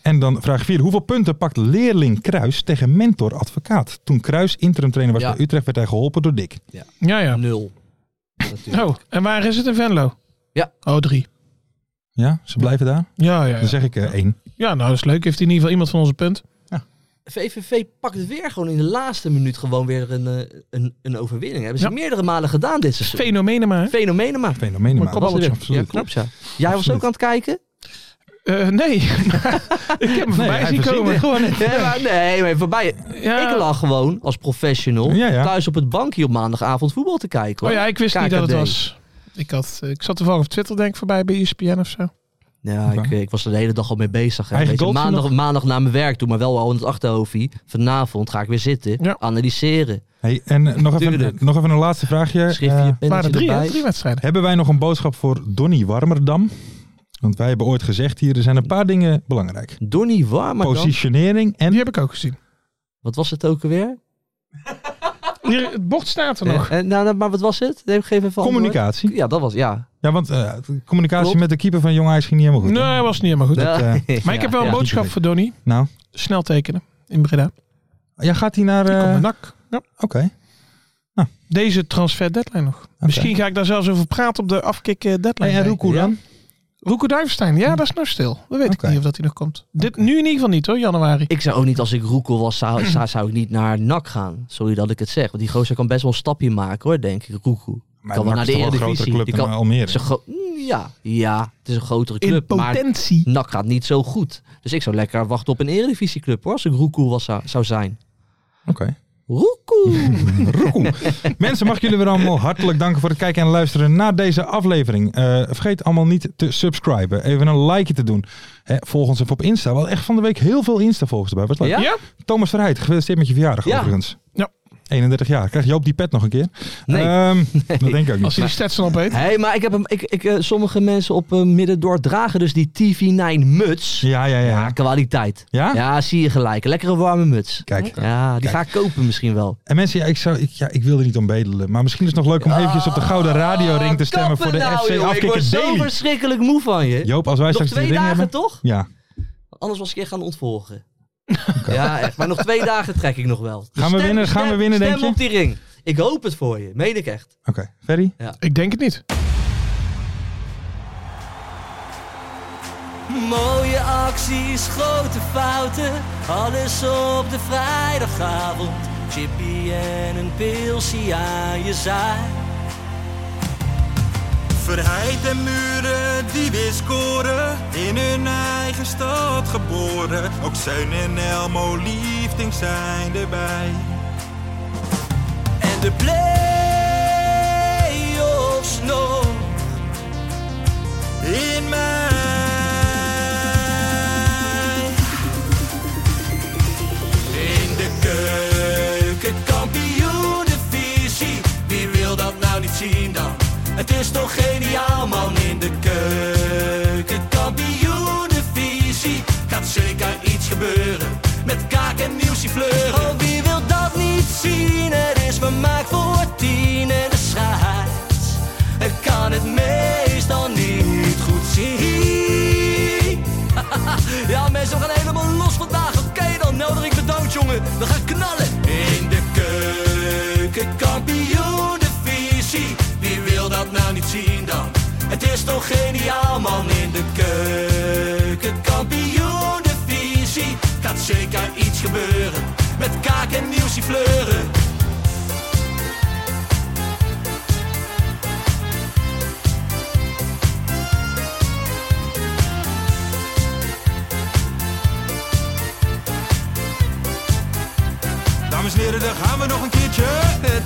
E: En dan vraag 4. Hoeveel punten pakt leerling Kruis tegen mentor advocaat? Toen Kruis interim trainer was
C: Ja.
E: bij Utrecht werd hij geholpen door Dick.
D: Ja, ja.
C: Nul. (laughs) Natuurlijk.
D: Oh, en waar is het in Venlo?
C: Ja.
D: Oh, drie.
E: Ja, ze blijven daar.
D: Ja, ja,
E: Dan
D: ja.
E: zeg ik eh één.
D: Ja, nou, dat is leuk. Heeft in ieder geval iemand van onze punt.
C: VVV pakt weer gewoon in de laatste minuut gewoon weer een, eh, een, een overwinning. Hebben ze
D: Ja.
C: meerdere malen gedaan dit seizoen.
D: Fenomenen maar. hè?
C: Fenomenen maar.
E: Fenomeen.
D: Maar
E: Maar
C: Was er weer. Ja,
E: absoluut.
C: klopt ja. Jij was
E: Absoluut.
C: ook aan het kijken?
D: Eh, nee, (laughs) ik heb hem voorbij
E: hij
D: zien
E: verzint
D: komen.
E: het.
D: Gewoon niet.
C: Nee, maar, nee, maar voorbij.
D: Ja.
C: Ik lag gewoon als professional
E: Ja, ja.
C: thuis op het bankje op maandagavond voetbal te kijken.
D: Oh
C: hoor.
D: ja, ik wist niet dat het
C: KKD.
D: was. Ik, had, eh, ik zat toevallig op Twitter denk ik voorbij bij E ESPN of zo.
C: Ja, ik, eh, ik was er de hele dag al mee bezig. Hè.
E: Eigen
C: Weet je,
E: goaltje
C: maandag, maandag na mijn werk doe maar wel al in het achterhoofdje. Vanavond ga ik weer zitten,
D: Ja.
C: analyseren.
E: Hey, en eh, nog even,
C: Tuurlijk.
E: nog even een laatste vraagje.
C: Schriftje,
E: Eh,
C: pennetje
D: Maar er drie, hè?
C: erbij.
D: drie wedstrijden.
E: hebben wij nog een boodschap voor Donny Warmerdam? Want wij hebben ooit gezegd hier, er zijn een paar dingen belangrijk.
C: Donnie Warmer
E: Positionering en...
D: Die heb ik ook gezien.
C: Wat was het ook alweer?
D: Hier, het bord staat er
C: Eh,
D: nog.
C: eh, nou, nou, maar wat was het? Nee, geef even antwoord.
E: Communicatie.
C: Ja, dat was, ja.
E: Ja, want eh, communicatie
C: Klopt.
E: met de keeper van Jong Ajax ging niet helemaal goed.
D: Nee,
E: hè?
D: was niet helemaal goed.
E: Dat,
C: (laughs)
E: eh,
D: Maar ik heb wel een
C: boot.
D: boodschap voor Donny.
E: Nou,
D: Snel tekenen in Breda.
E: ja, gaat hij naar...
D: Kom
E: eh,
D: maar
E: Oké.
D: nak. Ja. Deze transfer deadline nog. Misschien ga ik daar zelfs over praten op de afkick eh, deadline.
E: Hey, en
D: day.
E: Roekoe
C: Ja.
E: dan? Hm.
D: Roeco Duivenstein, ja, dat is nog stil. Dat weet
E: Oké.
D: ik niet of dat hij nog komt. Dit nu in ieder geval niet hoor, januari.
C: Ik zou ook niet, als ik Roekel was,
E: (clears throat)
C: zou, zou, zou ik niet naar NAC gaan. Sorry dat ik het zeg. Want die gozer kan best wel een stapje maken hoor, denk ik. Roekel.
E: Maar
C: Kan wel
E: NAC
C: naar
E: is
C: de
E: toch wel een grotere
C: Eredivisie.
E: club
C: Die
E: dan eh,
C: kan-
E: Almere.
C: Is een gro- Mm, ja, ja, het is een grotere
D: In
C: club. Maar
D: potentie.
C: NAC gaat niet zo goed. Dus ik zou lekker wachten op een eredivisieclub hoor, als ik Roekoe was, zou, zou zijn.
E: Oké.
C: Roekoe! (laughs)
E: Roekoe. Mensen, mag ik jullie weer allemaal hartelijk danken voor het kijken en luisteren naar deze aflevering. Eh, vergeet allemaal niet te subscriben. Even een likeje te doen. Hè, volg ons even op Insta. Wel echt van de week heel veel Insta-volgers erbij. (laughs) Wat leuk.
C: Ja?
D: Ja?
E: Thomas Verheid, gefeliciteerd met je verjaardag
C: Ja.
E: overigens.
D: Ja.
E: 31 jaar. Krijg Joop die pet nog een keer?
C: (laughs) Nee.
E: Ehm, Dat denk ik
D: Als
E: ook niet.
D: hij die stats dan opeet.
C: Hé, hey, maar ik heb hem, ik, ik, eh, sommige mensen op eh, Middendoor dragen dus die TV9 muts.
E: Ja, ja,
C: Ja,
E: ja.
C: kwaliteit.
E: Ja?
C: Ja, zie je gelijk. Lekkere warme muts.
E: Kijk.
C: Ja, die ga ik kopen misschien wel.
E: En mensen, ja, ik, zou, ik, ja, ik wil er niet om bedelen. Maar misschien is het nog leuk om eventjes op de Gouden Radioring te stemmen voor de
C: Oh, Ah, Kappen nou,
E: FC
C: joh. Ik
E: Afkikker
C: word zo
E: Daily.
C: verschrikkelijk moe van je.
E: Joop, als wij
C: nog
E: straks die
C: twee
E: ring
C: dagen
E: hebben.
C: toch?
E: Ja.
C: Anders was ik je gaan ontvolgen. Ja, echt. Maar nog twee dagen trek ik nog wel. Dus
E: Gaan we winnen? Gaan we winnen,
C: stem
E: denk je?
C: op die ring. Ik hoop het voor je. Meen ik echt.
E: Oké. Ferry?
D: Ik denk het niet.
F: Mooie acties, grote fouten, alles op de vrijdagavond. Chippy en een pilsie aan je zaai. Verheid en muren die weer scoren, in hun eigen stad geboren. Ook Zijn en Elmo liefding zijn erbij. En de play-offs nog in mij. In de keuken, kampioen, de visie. Wie wil dat nou niet zien dan? Het is toch geniaal, man. In de keuken, kampioen, de visie. Gaat zeker iets gebeuren. Met kaak en nieuwsje fleuren. Oh, wie wil dat niet zien?
C: zien. Het is vermaakt voor tien en de scheids. Ik kan het meestal niet goed zien. (laughs) Ja, mensen, we gaan helemaal los vandaag. Oké, dan nodig ik bedankt, jongen. We gaan knallen. In de keuken, kampioen, de visie. Wie wil dat nou niet zien dan? Het is toch geniaal, man. In de keuken, kampioen, de visie. Gaat zeker iets gebeuren. Met kaak en nieuwsie fleuren.
F: Dames en heren, daar gaan we nog een keertje.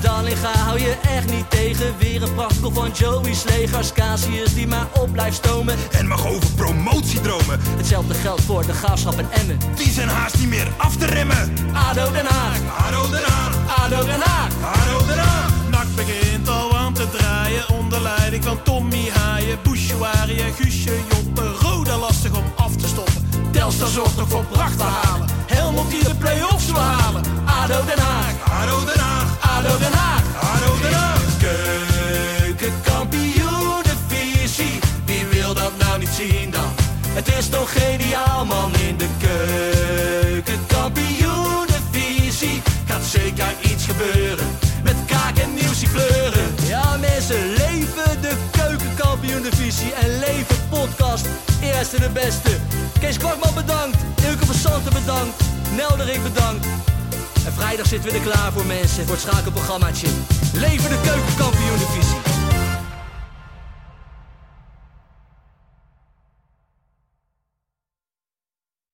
C: Dallinga hou je echt niet tegen. Weer een prachtkel van Joey's legers. Casius die maar op blijft stomen.
F: En mag over promotiedromen.
C: Hetzelfde geldt voor de graafschap en Emmen.
F: Die zijn haast niet meer af te remmen.
C: ADO Den Haag,
F: Haro Den Haag,
C: ADO Den Haag.
F: Haro Den Haag.
I: Nak begint al aan te draaien onder leiding van Tommy Haaien, Bouchouari en Guusje Joppen. Roda lastig om af te stoppen.
C: Telstar zorgt nog voor pracht te halen. Helmond die de play-offs wil halen. ADO Den Haag,
F: Haro Den Haag,
C: ADO Den Haag.
F: Haro Den Haag.
C: Keukenkampioenenvisie, wie wil dat nou niet zien dan? Het is toch geniaal man in de keukenkampioenenvisie. Gaat zeker iets gebeuren, met kaak en nieuwsie kleuren. Ja mensen, leven de keukenkampioenenvisie en leven podcast. Eerste de beste. Kees Kwakman bedankt, Ilke van Santen bedankt, Nelderik bedankt. En vrijdag zitten we er klaar voor mensen, voor het schakelprogrammaatje. Leven de keukenkampioen divisie.